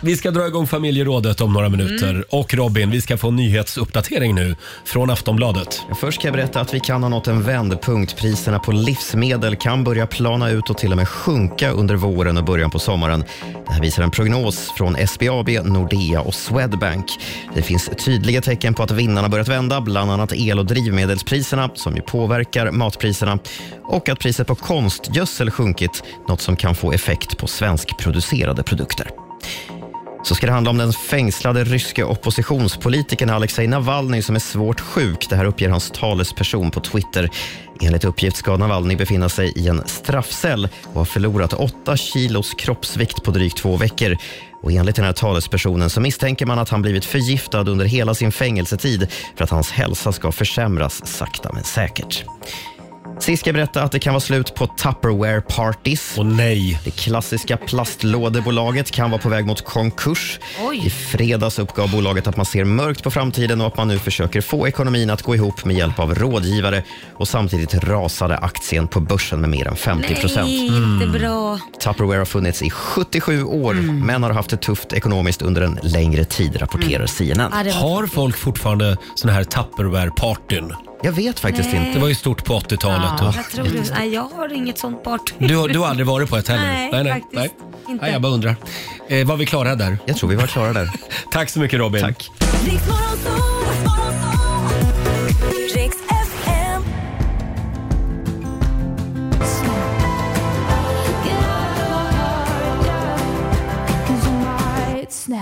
S1: vi ska dra igång familjerådet om några minuter.
S4: Mm.
S1: Och Robin, vi ska få en nyhetsuppdatering nu från Aftonbladet.
S4: Först ska jag berätta att vi kan ha nått en vändpunkt. Priserna på livsmedel kan börja plana ut och till och med sjunka under våren och början på sommaren. Det här visar en prognos från SBAB, Nordea och Swedbank. Det finns tydliga tecken på att vinnarna börjat vända, bland annat el och drivmedelspriserna som ju påverkar matpriserna och att priset på konstgödsel sjunkit, något som kan få effekt på svenskproducerade produkter så ska det handla om den fängslade ryske oppositionspolitikern Alexej Navalny som är svårt sjuk. Det här uppger hans talesperson på Twitter. Enligt uppgift ska Navalny befinna sig i en straffcell och har förlorat 8 kilos kroppsvikt på drygt två veckor. Och enligt den här talespersonen så misstänker man att han blivit förgiftad under hela sin fängelsetid för att hans hälsa ska försämras sakta men säkert. Sist ska jag berätta att det kan vara slut på Tupperware parties.
S1: Och nej.
S4: Det klassiska plastlådebolaget kan vara på väg mot konkurs.
S19: Oj.
S4: I fredags uppgav bolaget att man ser mörkt på framtiden och att man nu försöker få ekonomin att gå ihop med hjälp av rådgivare. Och samtidigt rasade aktien på börsen med mer än 50 procent.
S19: Nej,
S1: Mm.
S19: inte bra.
S4: Tupperware har funnits i 77 år
S13: Mm.
S4: men har haft det tufft ekonomiskt under en längre tid,
S13: Mm.
S4: rapporterar CNN.
S19: Ja, det var
S1: Har folk fortfarande såna här Tupperware-partyn?
S4: Jag vet faktiskt Nej. inte.
S1: Det var ju stort på 80-talet.
S19: Ja,
S1: och-
S19: jag, tror det. Nej, jag har inget sånt part.
S1: Du, har- du har aldrig varit på ett heller?
S19: Nej, faktiskt inte.
S1: Nej, jag bara undrar. Eh, var vi klara där?
S4: Jag tror vi var
S13: [LAUGHS]
S4: klara där.
S1: Tack så mycket Robin. Tack.
S2: Riks FM.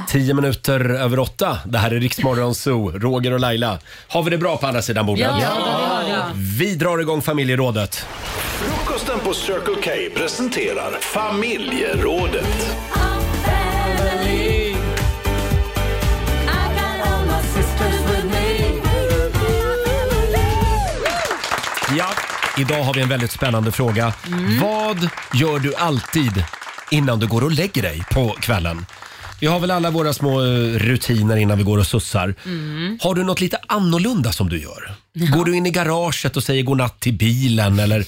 S1: Tio minuter över åtta. Det här är Riksmorgon Zoo, Roger och Laila. Har vi det bra på andra sidan bordet?
S2: Ja, vi har det.
S1: Vi drar igång familjerådet.
S20: Frukosten på Circle K presenterar familjerådet.
S1: Ja, Idag har vi en väldigt spännande fråga.
S2: Mm.
S1: Vad gör du alltid innan du går och lägger dig på kvällen? Vi har väl alla våra små eh, rutiner innan vi går och sussar.
S2: Mm.
S1: Har du något lite annorlunda som du gör? Går du in i garaget och säger godnatt till bilen eller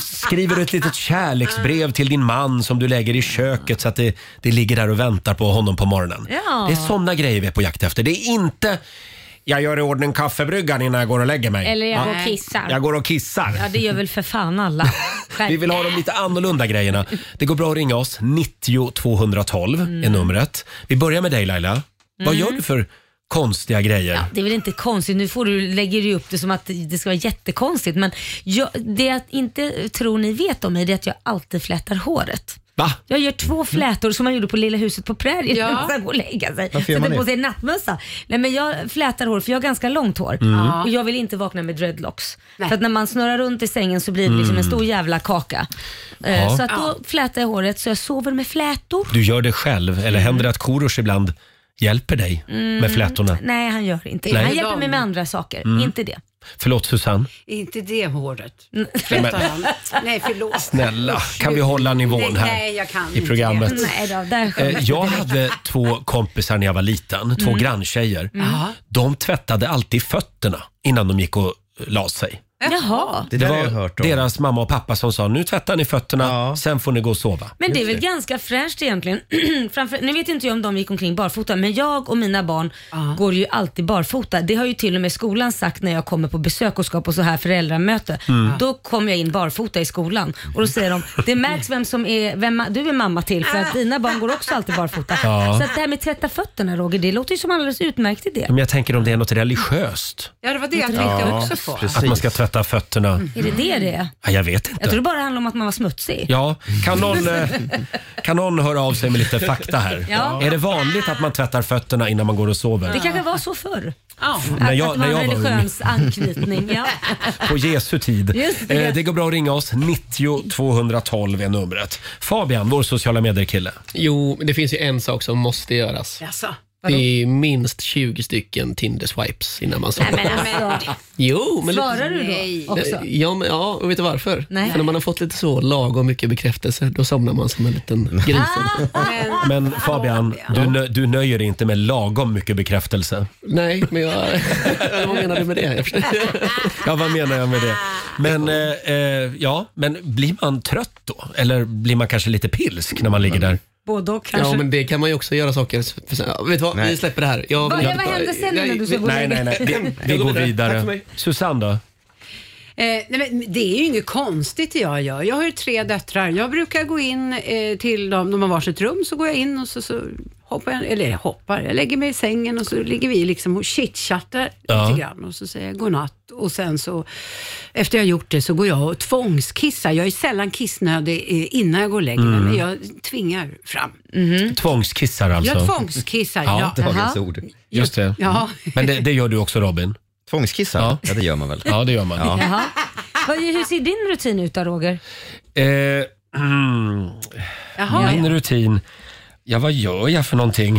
S1: skriver du ett litet kärleksbrev till din man som du lägger i köket så att det, det ligger där och väntar på honom på morgonen?
S10: Ja.
S1: Det är sådana grejer vi är på jakt efter. Det är inte jag gör i ordning kaffebryggan innan jag går och lägger mig.
S3: Eller jag
S1: Ja.
S3: går och kissar.
S1: Jag går och kissar.
S3: Ja, det gör väl för fan alla.
S1: [LAUGHS] Vi vill ha de lite annorlunda grejerna. Det går bra att ringa oss. 90 212 är numret. Vi börjar med dig Laila. Vad
S3: Mm.
S1: gör du för konstiga grejer?
S3: Det är väl inte konstigt, nu får du, lägger du upp det som att det ska vara jättekonstigt. Men jag, det jag inte tror ni vet om mig det är att jag alltid flätar håret.
S1: Va?
S3: Jag gör
S1: Mm.
S3: två flätor som man gjorde på Lilla huset på prärien [LAUGHS]
S10: Ja.
S3: när man ska gå och lägga sig.
S10: Varför gör man
S3: Sätter på
S10: det?
S3: sig en nattmössa. Nej, men jag flätar hår för jag har ganska långt hår
S10: Mm. Ja.
S3: och jag vill inte vakna med dreadlocks.
S10: Nej.
S3: För att när man snurrar runt i sängen så blir det liksom en
S1: Mm.
S3: stor jävla kaka. Eh,
S1: Ja.
S3: Så att då flätar jag håret så jag sover med flätor.
S1: Du gör det själv eller händer det att Korosh ibland hjälper dig
S3: Mm,
S1: med flätorna?
S3: Nej, han gör inte
S1: Nej.
S3: det. Han hjälper mig med andra saker,
S1: Mm.
S3: inte det.
S1: Förlåt Susanne.
S6: Inte det håret.
S1: Nej, men-
S6: Flätar han? Nej, förlåt.
S1: Snälla, kan vi hålla nivån här
S6: Nej, jag kan
S1: i
S6: inte
S1: programmet?
S6: det.
S3: Nej då, där
S1: Eh, Jag hade två kompisar när jag var liten, två
S3: Mm.
S1: granntjejer.
S3: Mm. Ja.
S1: De tvättade alltid fötterna innan de gick och la sig.
S3: Jaha.
S1: Det, var deras mamma och pappa som sa nu tvättar ni fötterna, sen får ni gå och sova.
S3: Men det är väl ganska fräscht egentligen. [CLEARS THROAT] Framför, nu vet inte jag om de gick omkring barfota, men jag och mina barn går ju alltid barfota. Det har ju till och med skolan sagt när jag kommer på besök och ska på så här föräldramöte.
S10: Mm.
S3: Då kommer jag in barfota i skolan och då säger de, det märks vem som är, vem ma- du är mamma till för att dina barn går också alltid barfota.
S1: Ja.
S3: Så att det här med tvätta fötterna Roger, det låter ju som alldeles utmärkt idé.
S1: Men jag tänker om det är något religiöst.
S3: Ja, det var
S6: det att vi inte Ja, också får. precis.
S1: Att man ska tvätta fötterna.
S3: Är det det det är?
S1: Ja, jag vet inte.
S3: Mm. Jag tror det bara handlar om att man var smutsig.
S1: Ja, kan någon, eh, kan någon höra av sig med lite fakta här?
S3: Ja.
S1: Är det vanligt att man tvättar fötterna innan man går och sover?
S3: Det kanske var så förr. Att,
S1: När jag-
S3: att det var
S1: när
S3: en
S1: jag var ung.
S3: religiös anknytning.
S1: [LAUGHS]
S3: Ja.
S1: På Jesu tid.
S3: Just det.
S1: Eh, det går bra att ringa oss. 90 212 är numret. Fabian, vår sociala medier-kille.
S2: Jo, men det finns ju en sak som måste göras.
S3: Alltså,
S6: Jaså?
S2: Det är minst 20 stycken Tinder-swipes innan man sover. Jo, men
S3: Svarar du då
S6: Nej.
S2: också?
S3: också?
S2: Ja, men, ja, och vet du varför?
S3: Nej.
S2: För när man har fått lite så lagom mycket bekräftelse, då somnar man som en liten gris.
S3: Ah!
S1: Men Fabian, du, nö- du nöjer dig inte med lagom mycket bekräftelse.
S2: Nej, men jag... [LAUGHS] vad menar du med det? Jag förstår-
S1: Ja, vad menar jag med det? Men, eh, eh, ja, men blir man trött då? Eller blir man kanske lite pilsk när man ligger där?
S3: Både och kanske.
S2: Ja, men det kan man ju också göra saker för sen. Ja, Vet du vad, vi släpper det här. Jag
S3: Vad-
S2: vill
S3: vad
S2: inte-
S3: händer sen innan du ska
S2: vi-
S3: gå och
S2: nej,
S3: lägga
S2: nej, nej.
S3: dig?
S2: Vi- Vi
S1: Vi
S2: går
S1: går
S2: Tack för
S1: vidare.
S2: mig.
S1: Susanne då?
S6: Eh, nej, men det är ju inget konstigt det jag gör. Jag har ju tre döttrar. Jag brukar gå in eh, till dem, de har varsitt rum, så går jag in och så, så hoppar jag, eller jag hoppar, jag lägger mig i sängen och så ligger vi liksom och chitchattar
S10: Ja.
S6: lite grann och så säger jag godnatt och sen så efter jag har gjort det så går jag och tvångskissar. Jag är sällan kissnödig eh, innan jag går och lägger mig,
S1: Mm.
S6: men jag tvingar fram.
S1: Tvångskissar alltså?
S6: Jag tvångskissar, ja.
S1: Dagens
S6: Jaha.
S1: ord. Just det.
S6: Ja.
S1: Men det, det gör du också Robin?
S21: Tvångskissar? Ja. det gör man väl?
S1: Ja, det gör man.
S3: Jaha. [LAUGHS] Vad, hur ser din rutin ut då Roger?
S1: Eh, [CLEARS THROAT] mm,
S3: Jaha,
S1: min rutin. Ja, vad gör jag
S3: [LAUGHS]
S1: för någonting?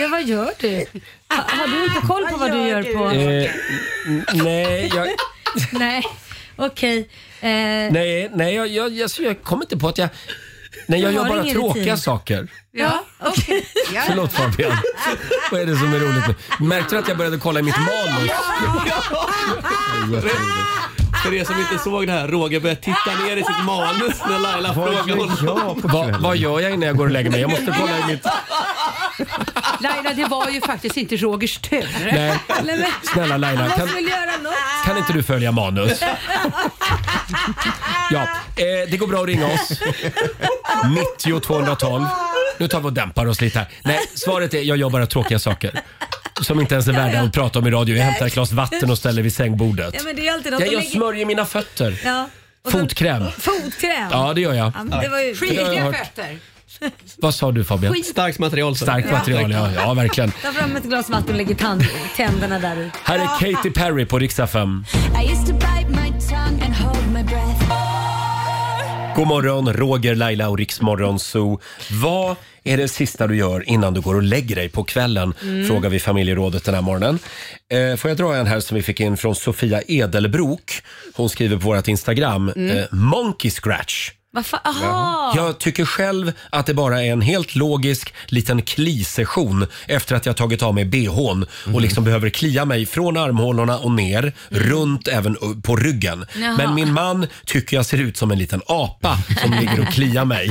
S3: Ja, vad gör du? Ha, har du inte koll på vad, du gör på?
S1: Eh, n- nej, jag,
S3: [LAUGHS] Nej, okej. Eh,
S1: nej, nej jag, jag, jag, jag kommer inte på att jag... Nej, jag
S3: Du
S1: gör
S3: har
S1: bara
S3: ingen
S1: tråkiga
S3: rutin.
S1: saker.
S3: Ja,
S1: [LAUGHS]
S3: okej.
S1: Förlåt Fabian. Vad är det som är roligt nu? Märkte du att jag började kolla i mitt
S3: Ah,
S1: manus?
S2: För er som inte såg det här, Roger började titta ner i sitt manus när Laila frågade honom.
S1: Vad, vad gör jag innan jag går och lägger mig? Jag måste kolla i mitt...
S6: Laila, det var ju faktiskt inte Rogers tur.
S1: Nej. Snälla Laila, kan,
S3: göra något.
S1: kan inte du
S3: [LAUGHS]
S1: följa manus? Ja, eh, det går bra att ringa oss. 90 212. Nu tar vi och dämpar oss lite här. Nej, svaret är jag gör bara tråkiga saker. Som inte ens är värda att prata om i radio. Jag hämtar ett glas vatten och ställer vid sängbordet.
S3: Ja, men det är alltid något
S1: Jag,
S3: att
S1: jag
S3: lägga-
S1: smörjer mina fötter.
S3: Ja. och så-
S1: Fotkräm.
S3: Fotkräm?
S1: Ja, det gör jag.
S3: Ja, men det var ju...
S2: Skitiga Det har jag hört.
S3: fötter.
S1: Vad sa du Fabian?
S2: Skit. Starkt material. så.
S1: Starkt material, ja. Ja, verkligen.
S3: Ta fram ett glas vatten och lägg i tand, tänderna där i.
S1: Här är Katy Perry på riksdag 5.
S22: I used to bite my tongue and hold my breath.
S1: God morgon, Roger, Laila och Riksmorgon Zoo. Vad är det sista du gör innan du går och lägger dig på kvällen?
S17: Mm.
S1: Frågar vi familjerådet den här morgonen. Eh, får jag dra en här som vi fick in från Sofia Edelbrok? Hon skriver på vårt Instagram,
S3: Mm.
S1: eh, Monkey Scratch.
S3: Varför? Aha.
S1: Jag tycker själv att det bara är en helt logisk liten klisession efter att jag tagit av mig bhn och liksom behöver klia mig från armhålorna och ner, runt även u- på ryggen.
S17: Jaha.
S1: Men min man tycker jag ser ut som en liten apa som ligger och kliar mig.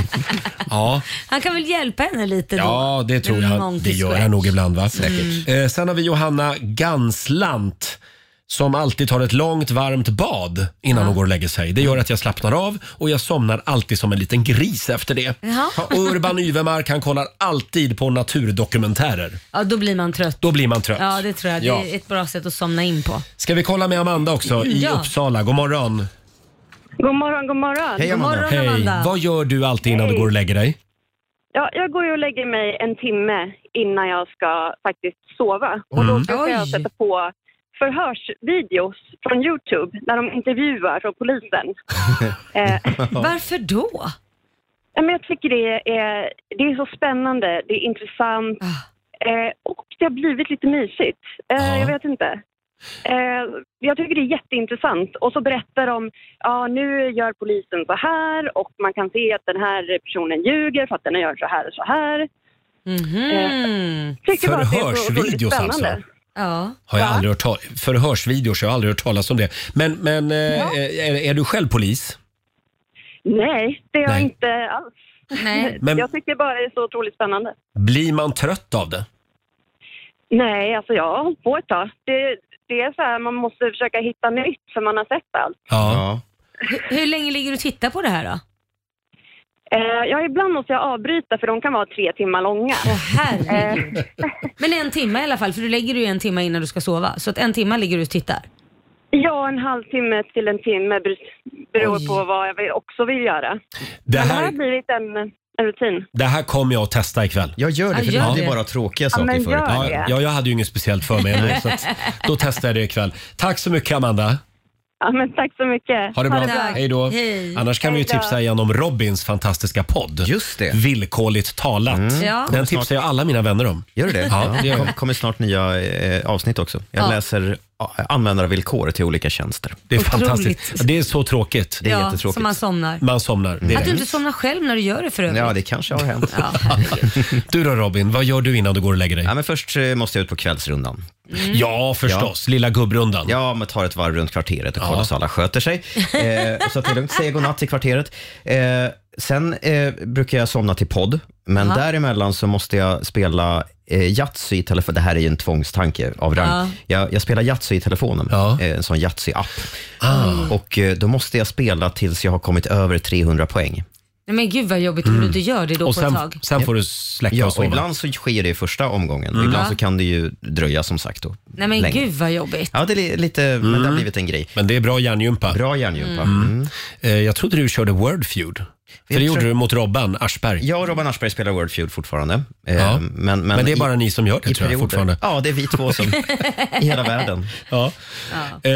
S1: Ja,
S3: Han kan väl hjälpa henne lite då?
S1: ja det tror jag. Det
S3: Monkey
S1: gör
S3: scratch.
S1: han nog ibland
S3: Mm.
S1: va?
S3: Säkert.
S1: Eh, sen har vi Johanna Ganslant som alltid tar ett långt varmt bad innan hon går och lägger sig. Det gör att jag slappnar av och jag somnar alltid som en liten gris efter det.
S3: Jaha.
S1: Och Urban Yvermark han kollar alltid på naturdokumentärer.
S3: Ja, då blir man trött.
S1: Då blir man trött.
S3: Ja, det tror jag.
S1: Ja.
S3: Det är ett bra sätt att somna in på.
S1: Ska vi kolla med Amanda också i
S3: Ja.
S1: Uppsala? God morgon.
S13: God morgon, god morgon.
S1: Hej. Vad gör du alltid innan du går och lägger dig?
S13: Ja, jag går ju och lägger mig en timme innan jag ska faktiskt sova. Och då
S1: Mm.
S13: brukar jag
S1: Oj.
S13: sätta på förhörsvideos från Youtube när de intervjuar från
S1: [LAUGHS]
S13: polisen. Eh,
S3: Varför då?
S13: Ja, men jag tycker det är, det är så spännande, det är intressant
S3: Ah.
S13: eh, och det har blivit lite mysigt. Eh, jag vet inte. Eh, jag tycker det är jätteintressant. Och så berättar de, ja nu gör polisen så här och man kan se att den här personen ljuger för att den gör så här och så här.
S3: Mm-hmm.
S13: Eh, tycker bara att det är så
S1: Förhörsvideos
S13: otroligt spännande.
S1: alltså?
S3: Ja.
S1: Har jag aldrig hört tal- förhörsvideos, jag har aldrig hört talas om det. Men, men eh, är, är du själv polis?
S13: Nej, det är jag
S1: Nej.
S13: inte alls.
S1: Men-
S13: Jag tycker bara det är så otroligt spännande.
S1: Blir man trött av det?
S13: Nej, alltså jag har hållit på ett tag. Det, det är så här, man måste försöka hitta nytt för man har sett allt.
S1: Ja.
S3: [LAUGHS] Hur länge ligger du och tittar på det här då?
S13: Eh, ja, ibland måste jag avbryta för de kan vara tre timmar långa.
S1: Mm.
S3: Herregud. Eh. Men en timme i alla fall, för du lägger ju en timme innan du ska sova. Så att en timme ligger du och tittar.
S13: Ja, en halvtimme till en timme ber- beror på vad jag vill, också vill göra.
S1: Det
S13: Men det här har
S1: här,
S13: blivit en, en rutin.
S1: det här kommer jag att testa ikväll.
S4: Jag gör
S13: det, Ja, för gör det är det. bara
S1: tråkiga
S13: Ja, saker men förut. gör
S1: Ja,
S13: det.
S1: ja, jag hade ju inget speciellt för mig ändå, så att, då testar jag det ikväll. Tack så mycket Amanda.
S13: Ja, men tack så mycket.
S1: Ha det bra. Hej då. Annars kan vi ju
S13: Hej då.
S1: tipsa igen om Robins fantastiska podd. Just det. Villkorligt talat.
S3: Mm.
S4: Ja.
S1: Den tipsar jag alla mina vänner om.
S4: Gör du det?
S1: Ja, det gör
S4: Kom-
S1: jag.
S4: kommer snart nya eh, avsnitt också. Jag
S1: Ja.
S4: läser a- användarvillkor till olika tjänster.
S1: Det är
S3: Otroligt.
S1: fantastiskt. Det är så tråkigt.
S4: Det är
S3: ja,
S4: jättetråkigt.
S3: Så man somnar.
S1: Man somnar. Det är
S3: Att du
S1: det.
S3: inte somnar själv när du gör det för övrigt.
S4: Ja, det kanske har hänt.
S1: du då Robin, vad gör du innan du går och lägger dig?
S4: Ja, men först eh, måste jag ut på kvällsrundan.
S1: Ja, förstås. Lilla gubbrundan.
S4: Ja, men tar ett varv runt kvarteret och kollar så alla sköter sig. Eh, så att det är lugnt, säger godnatt till kvarteret. Eh, sen eh, brukar jag somna till podd, men
S17: Ja.
S4: däremellan så måste jag spela eh, Yatzy i telefonen. Det här är ju en tvångstanke av rang.
S17: Ja.
S4: Jag, jag spelar Yatzy i telefonen, eh, en sån Yatzy-app.
S3: Ah.
S4: Och eh, då måste jag spela tills jag har kommit över 300 poäng.
S3: Nej, men gud vad jobbigt om du inte gör det då på ett tag.
S1: får du släcka
S4: ja,
S1: och sova.
S4: ibland så sker det i första omgången.
S3: Mm.
S4: Ibland
S3: Ja.
S4: så kan det ju dröja som sagt. Då,
S3: Nej men
S4: länge.
S3: gud vad jobbigt.
S4: Ja, det är li- lite, men det har blivit en grej.
S1: Men det är bra hjärngympa.
S4: Bra hjärngympa.
S1: Mm. Eh, Jag trodde du körde Wordfeud. För det gjorde du mot Robban Aschberg.
S4: Ja, Robban Aschberg spelar Wordfeud fortfarande. Eh,
S1: Ja.
S4: Men, men,
S1: Men det är bara ni som gör det,
S4: i
S1: tror jag,
S4: perioder.
S1: fortfarande.
S4: Ja, det är vi två som i hela världen.
S1: Ja. Eh,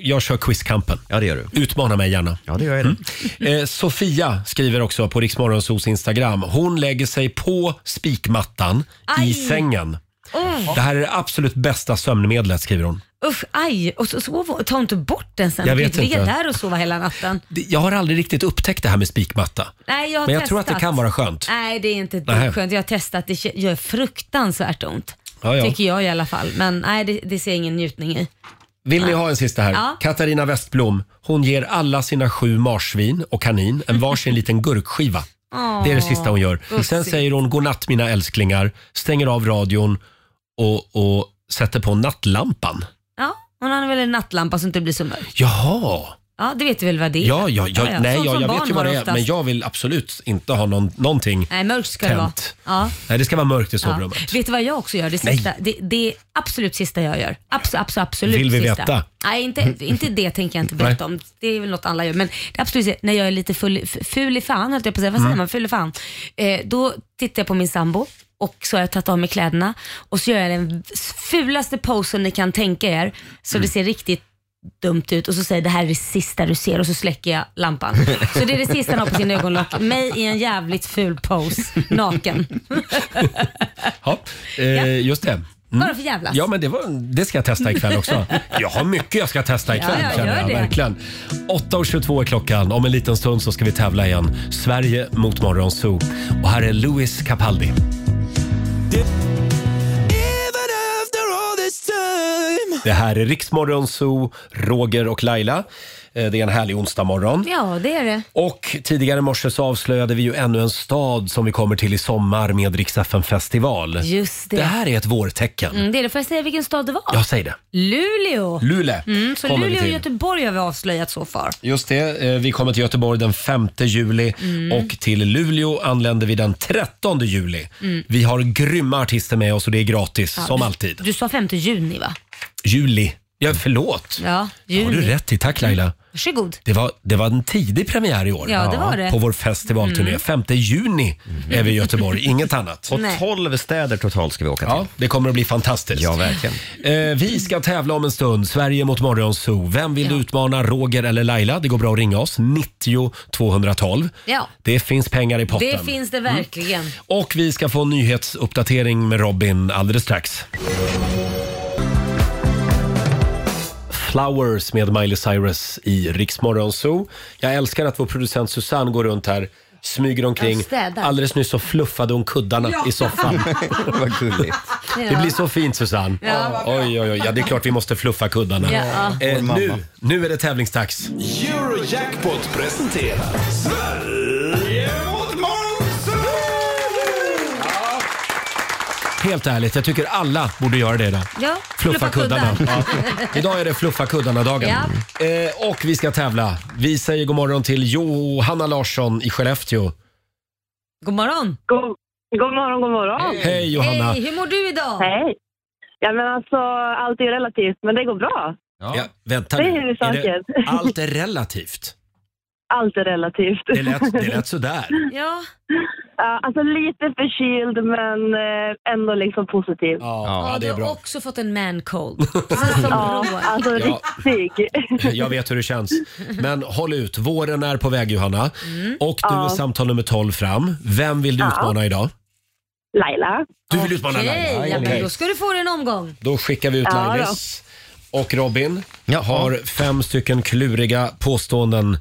S1: Jag kör Quizkampen.
S4: Ja, det gör
S1: du. Utmana mig gärna.
S4: Ja, det gör jag.
S1: Mm. Eh, Sofia skriver också på Riksmorgonsos Instagram. Hon lägger sig på spikmattan i
S3: Aj.
S1: sängen.
S3: Oh.
S1: Det här är det absolut bästa sömnmedlet, skriver hon.
S3: Usch, aj. Och så, sov, ta inte bort den sen.
S1: Jag
S3: Du
S1: vet
S3: kan ligga
S1: inte.
S3: där och sova hela natten.
S1: Det- Jag har aldrig riktigt upptäckt det här med spikmatta.
S3: Nej, jag har
S1: Men jag
S3: testat. Äh,
S1: tror att det kan vara skönt.
S3: Nej, det är inte ett
S1: Nej.
S3: dugg skönt. Jag har testat. Det k- gör fruktansvärt ont.
S1: Ja, ja.
S3: Tycker jag i alla fall. Men nej, det, det ser jag ingen njutning i.
S1: Vill ni ha en sista här?
S3: Ja.
S1: Katarina Westblom, hon ger alla sina sju marsvin och kanin en varsin liten gurkskiva.
S3: Åh,
S1: Det är det sista hon gör. Sen
S3: gulligt.
S1: säger hon godnatt mina älsklingar, stänger av radion och, och sätter på nattlampan.
S3: Ja, hon har väl en nattlampa så det inte blir så mörkt.
S1: Jaha!
S3: Ja, det vet du väl vad det är?
S1: Ja, ja, ja, nej,
S3: Sånt
S1: ja,
S3: som
S1: jag
S3: barn
S1: vet ju vad
S3: har
S1: det är,
S3: oftast.
S1: men jag vill absolut inte ha någon, någonting.
S3: Nej, mörkt ska det vara.
S1: Tänt.
S3: Ja.
S1: Nej, det ska vara mörkt i
S3: Ja.
S1: sovrummet.
S3: Vet du vad jag också gör? Det,
S1: Nej.
S3: sista, det, det är absolut sista jag gör. Abs- abs- absolut
S1: Vill vi
S3: sista.
S1: veta?
S3: Nej, inte, inte det tänker jag inte berätta om. Det är väl något alla gör. Men det absolut sista, när jag är lite full, f- ful i fan, höll jag på att säga. Vad säger
S17: Mm.
S3: man? Ful i fan. Eh, då tittar jag på min sambo och så har jag tagit av mig
S1: Mm.
S3: kläderna och så gör jag den fulaste posen ni kan tänka er så det ser riktigt
S19: dumt ut och så säger jag, det här är det sista du ser och så släcker jag lampan. Så det är det sista han har på sin ögonlock. Mig i en jävligt ful pose, naken.
S1: Ja, eh, just det.
S19: Bara för jävlas.
S1: Ja, men det, var, det ska jag testa ikväll
S19: [LAUGHS]
S1: också. Jag har mycket jag ska testa ikväll.
S19: Ja, ja,
S1: känner
S19: gör
S1: jag,
S19: det.
S1: verkligen. 8.22 är klockan. Om en liten stund så ska vi tävla igen. Sverige mot Morgonzoo. Och här är Louis Capaldi. Det här är Riksmorgonzoo, Roger och Laila. Eh, Det är en härlig onsdagmorgon.
S19: Ja, det är det.
S1: Och tidigare i morse så avslöjade vi ju ännu en stad som vi kommer till i sommar med Rix FM festival.
S19: Just det.
S1: Det här är ett vårtecken.
S19: Mm, det är det. Får jag säga vilken stad det var?
S1: Jag säger det.
S19: Luleå.
S1: Luleå
S19: Mm, så
S1: kommer vi
S19: Luleå och
S1: till.
S19: Göteborg har vi avslöjat så far.
S1: Just det, eh, vi kommer till Göteborg den 5 juli
S19: Mm.
S1: och till Luleå anländer vi den 13 juli.
S19: Mm.
S1: Vi har grymma artister med oss och det är gratis,
S19: Ja,
S1: som
S19: du-
S1: alltid.
S19: Du sa 5 juni va?
S1: Juli. Ja, förlåt.
S19: Ja, Mm. juni.
S1: Har du rätt i, tack Laila.
S19: Varsågod.
S1: Det var, det var en tidig premiär i år.
S19: Ja, det var det.
S1: På vår festivalturné.
S19: Mm.
S1: 5 juni är vi i Göteborg, inget annat.
S4: Och Nej.
S1: 12 städer totalt ska vi åka till. Ja, det kommer att bli fantastiskt. Ja, verkligen. Eh, vi ska tävla om en stund. Sverige mot Morgonzoo. Vem vill du utmana, Roger eller Laila? Det går bra att ringa oss. 90 212.
S19: Ja,
S1: Det finns pengar i potten.
S19: det finns
S1: Mm.
S19: det verkligen.
S1: Och vi ska få en nyhetsuppdatering med Robin alldeles strax. Flowers med Miley Cyrus i Riksmorgon Zoo. Jag älskar att vår producent Susanne går runt här smyger omkring.
S2: Ja, städar.
S1: Alldeles nyss så fluffade hon kuddarna
S2: Ja.
S19: [LAUGHS]
S1: i soffan. Vad gulligt. Det blir så fint Susanne.
S2: Ja, vad bra.
S1: Oj, oj, oj. Ja, det är klart vi måste fluffa kuddarna.
S2: Ja.
S1: Eh,
S2: Vår mamma.
S1: nu, nu är det tävlingsdags.
S20: Eurojackpot presenterar Sverige mot Monsun!
S1: Helt ärligt, jag tycker alla borde göra det idag.
S19: Ja,
S1: Fluffa, kuddarna.
S19: kuddar.
S1: Ja. Idag är det fluffa kuddarna-dagen. Eh, och vi ska tävla. Vi säger god morgon till Johanna Larsson i Skellefteå.
S19: God morgon.
S13: God, god morgon, god morgon.
S1: Hej, Johanna.
S19: Hej, hur mår du idag?
S13: Hej. Ja, men alltså, allt är relativt, men det går bra.
S1: Ja. vänta
S13: Det
S1: nu.
S13: är saker.
S1: allt är relativt.
S13: Allt är relativt.
S1: Det lät, det lät sådär.
S19: Ja.
S13: Ja, alltså lite förkyld, men eh, ändå liksom positiv.
S1: Ja, det är
S19: Du har
S1: bra.
S19: också fått en man
S1: [LAUGHS]
S19: cold.
S13: Ja, alltså
S1: Ja.
S13: riktig. [LAUGHS]
S1: [LAUGHS] Jag vet hur det känns. Men håll ut, våren är på väg Johanna. Och du är
S13: Ja.
S1: samtal nummer 12 fram. Vem vill du
S13: Ja.
S1: utmana idag?
S13: Laila.
S1: Du vill utmana
S19: Okej,
S1: Laila?
S19: ja, men
S1: Okej.
S19: då ska du få dig en omgång.
S1: Då skickar vi ut
S19: Ja,
S1: Lailis. Och Robin har fem stycken kluriga påståenden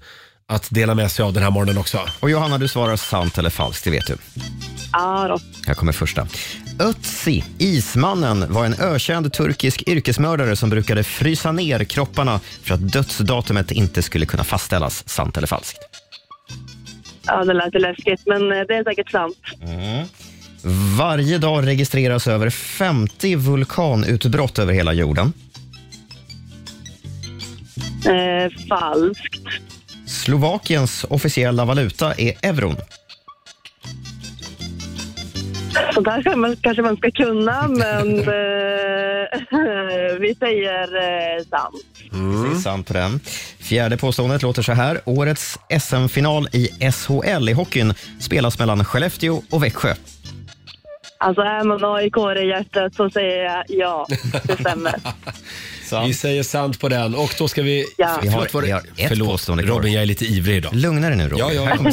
S1: att dela med sig av den här morgonen också.
S4: Och Johanna, du svarar sant eller falskt, det vet du.
S13: Ja, då.
S4: Här kommer första. Ötzi, ismannen, var en ökänd turkisk yrkesmördare som brukade frysa ner kropparna för att dödsdatumet inte skulle kunna fastställas. Sant eller falskt?
S13: Ja, det lät ju läskigt, men eh, det är säkert sant.
S4: Varje dag registreras över 50 vulkanutbrott över hela jorden.
S13: Eh, falskt.
S4: Slovakiens officiella valuta är euron.
S13: Så där ska man, kanske man ska kunna, [LAUGHS] men eh, [LAUGHS] vi säger eh, sant.
S4: Mm. Sant på den. Fjärde påståendet låter så här. Årets SM-final i SHL i hockeyn spelas mellan Skellefteå och Växjö.
S13: Alltså är man aik i hjärtat så säger jag ja, det [LAUGHS] stämmer.
S1: Vi säger sant på den och då ska vi...
S13: Ja.
S4: Vi har,
S1: Förlåt, var det-
S4: vi har ett påstående kvar.
S1: Robin, jag är lite ivrig idag.
S4: Lugna dig nu Robin.
S1: Ja, ja.
S4: Här kommer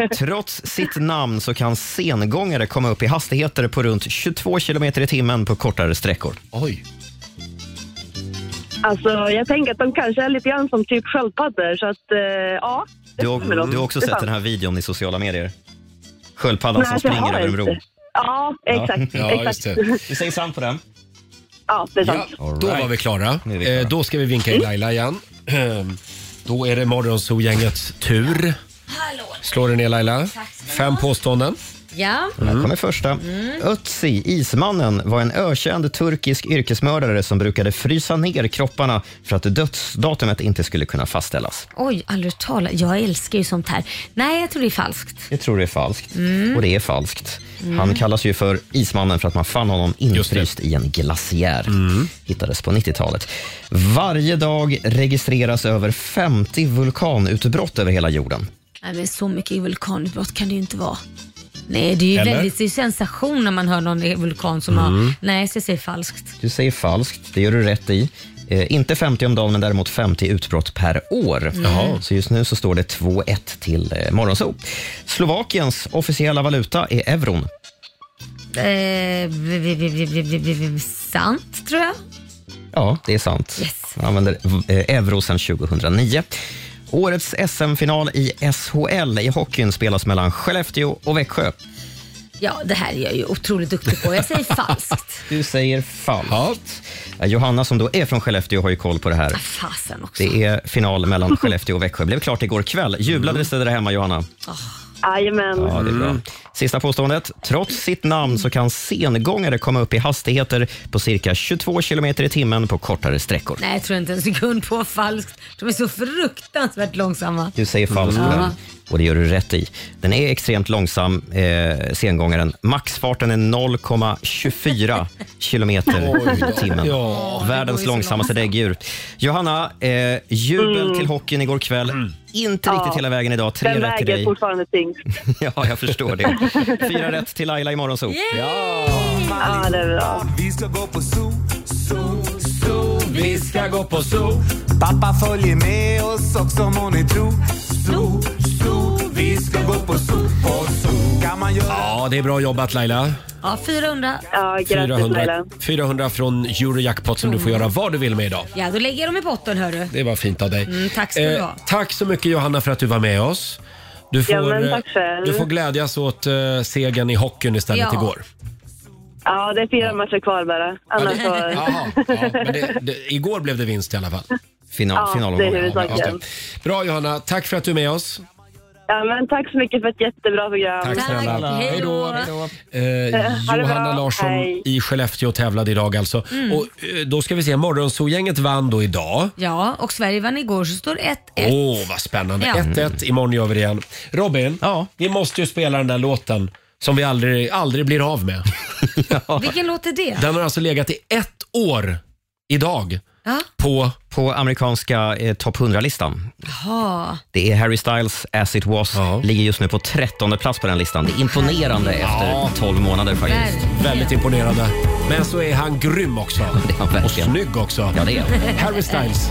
S4: sista. Trots sitt namn så kan sengångare komma upp i hastigheter på runt 22 kilometer i timmen på kortare sträckor.
S1: Oj.
S13: Alltså jag tänker att de kanske är lite grann som typ sköldpaddor så att eh, ja. det
S4: Du,
S13: stämmer nog.
S4: har- du har också
S13: Det är
S4: sett
S13: sant.
S4: den här videon i sociala medier? Sköldpaddan som
S13: Nej, det har
S4: springer över en
S13: jag
S4: bro.
S13: inte. Ja, exakt. exakt.
S4: Du säger sant på den.
S13: [LAUGHS] Ja, det är sant.
S1: Då var vi klara. Eh, då ska vi vinka in Laila igen. Ehm, Då är det Morgonzoo-gängets tur. Slår du ner Laila? Fem påståenden.
S19: Ja.
S4: Här kommer första.
S19: Mm.
S4: Ötzi, ismannen, var en ökänd turkisk yrkesmördare som brukade frysa ner kropparna för att dödsdatumet inte skulle kunna fastställas.
S19: Oj, aldrig tala. Jag älskar ju sånt här. Nej, jag tror det är falskt.
S4: Jag tror det är falskt.
S19: Mm.
S4: Och det är falskt.
S19: Mm.
S4: Han kallas ju för Ismannen för att man fann honom infryst i en glaciär.
S19: Mm.
S4: Hittades på 90-talet. Varje dag registreras över 50 vulkanutbrott över hela jorden.
S19: Nej, men så mycket vulkanutbrott kan det ju inte vara. Nej, det är ju
S4: Eller?
S19: väldigt det är ju sensation när man hör någon vulkan som
S4: Mm.
S19: har... Nej, så jag säger falskt.
S4: Du säger falskt, det gör du rätt i. Eh, inte 50 om dagen, men däremot 50 utbrott per år. Mm.
S2: Jaha.
S4: Så just nu så står det 2-1 till eh, Morgonzoo. Slovakiens officiella valuta är euron.
S19: Eh, v- v- v- v- v- v- sant, tror jag.
S4: Ja, det är sant. Man använder eh, euro sedan 2009. Årets SM-final i SHL i hockeyn spelas mellan Skellefteå och Växjö.
S19: Ja, det här är jag ju otroligt duktig på. Jag säger falskt.
S4: [LAUGHS] Du säger falskt. Eh, Johanna som då är från Skellefteå har ju koll på det
S3: Ah,
S4: här.
S19: Fasen också.
S4: Det är final mellan Skellefteå och Växjö. Blev klart igår kväll. Jublades det där hemma, Johanna?
S13: Jajamän.
S4: Ja, det är bra. Sista påståendet. Trots sitt namn så kan sengångare komma upp i hastigheter på cirka 22 kilometer i timmen på kortare sträckor.
S19: Nej, jag tror inte en sekund på falskt. De är så fruktansvärt långsamma.
S4: Du säger falskt på
S19: Ja.
S4: den. Och det gör du rätt i. Den är extremt långsam, eh, sengångaren. Maxfarten är 0,24 kilometer i timmen. Världens långsammaste däggdjur. Johanna, eh, jubel
S13: Mm.
S4: till hockeyn igår kväll. Inte
S13: Ja.
S4: riktigt hela vägen idag. Tre
S13: Den
S4: rätt till
S13: väger
S4: dig.
S13: fortfarande tyngst.
S4: [LAUGHS] ja, jag förstår det. Fyra rätt till Laila i morgonzoo.
S13: Ja, det är bra.
S2: Vi ska gå på zoo, zoo, zoo. Vi ska gå på zoo. Pappa följer med oss också om hon är tro. Zoo, zoo. Vi ska gå på zoo, på zoo. Kan man göra
S1: Ja, det är bra jobbat Laila.
S19: Ja, 400.
S13: Ja,
S1: 400, 400 från Eurojackpot som du får göra vad du vill med idag.
S19: Ja, då lägger jag dem i botten, hörru.
S1: Det var fint av dig. Eh,
S19: Mm, tack ska du ha.
S1: tack så mycket Johanna för att du var med oss. Du får,
S13: Ja, men tack
S1: eh,
S13: själv.
S1: du får glädjas åt eh, segern i hockeyn istället
S13: Ja.
S1: igår.
S13: Ja, det är fyra matcher kvar bara. Annars så...
S1: [LAUGHS] Jaha, ja, men det, det, igår blev det vinst i alla fall.
S4: Final,
S13: Ja, finalomgången. det är huvudsaken.
S1: Bra Johanna, tack för att du är med oss.
S13: Ja, men tack så mycket för ett jättebra program.
S1: Tack snälla. Tack, hej då. Hej Eh,
S13: Ha det
S1: Johanna
S13: bra.
S1: Larsson
S13: Hej.
S1: i Skellefteå tävlade idag alltså.
S19: Mm.
S1: Och, eh, då ska vi se, Morgonzoo-gänget vann då idag.
S19: Ja, och Sverige vann igår så står 1-1.
S1: Åh, oh, vad spännande.
S19: Ja.
S1: 1-1. Imorgon gör vi det igen. Robin, vi måste ju spela den där låten som vi aldrig, aldrig blir av med.
S19: Vilken låt är det?
S1: Den har alltså legat i ett år idag
S19: Ja.
S1: på...
S4: På amerikanska eh, topp 100-listan.
S19: Jaha.
S4: Det är Harry Styles, As it was. Ligger just nu på 13 plats på den listan. Det är imponerande
S1: Ja.
S4: efter 12 månader faktiskt.
S1: Verkligen. Väldigt imponerande. Men så är han grym också. Och snygg också.
S4: Ja, det är han.
S1: Harry Styles.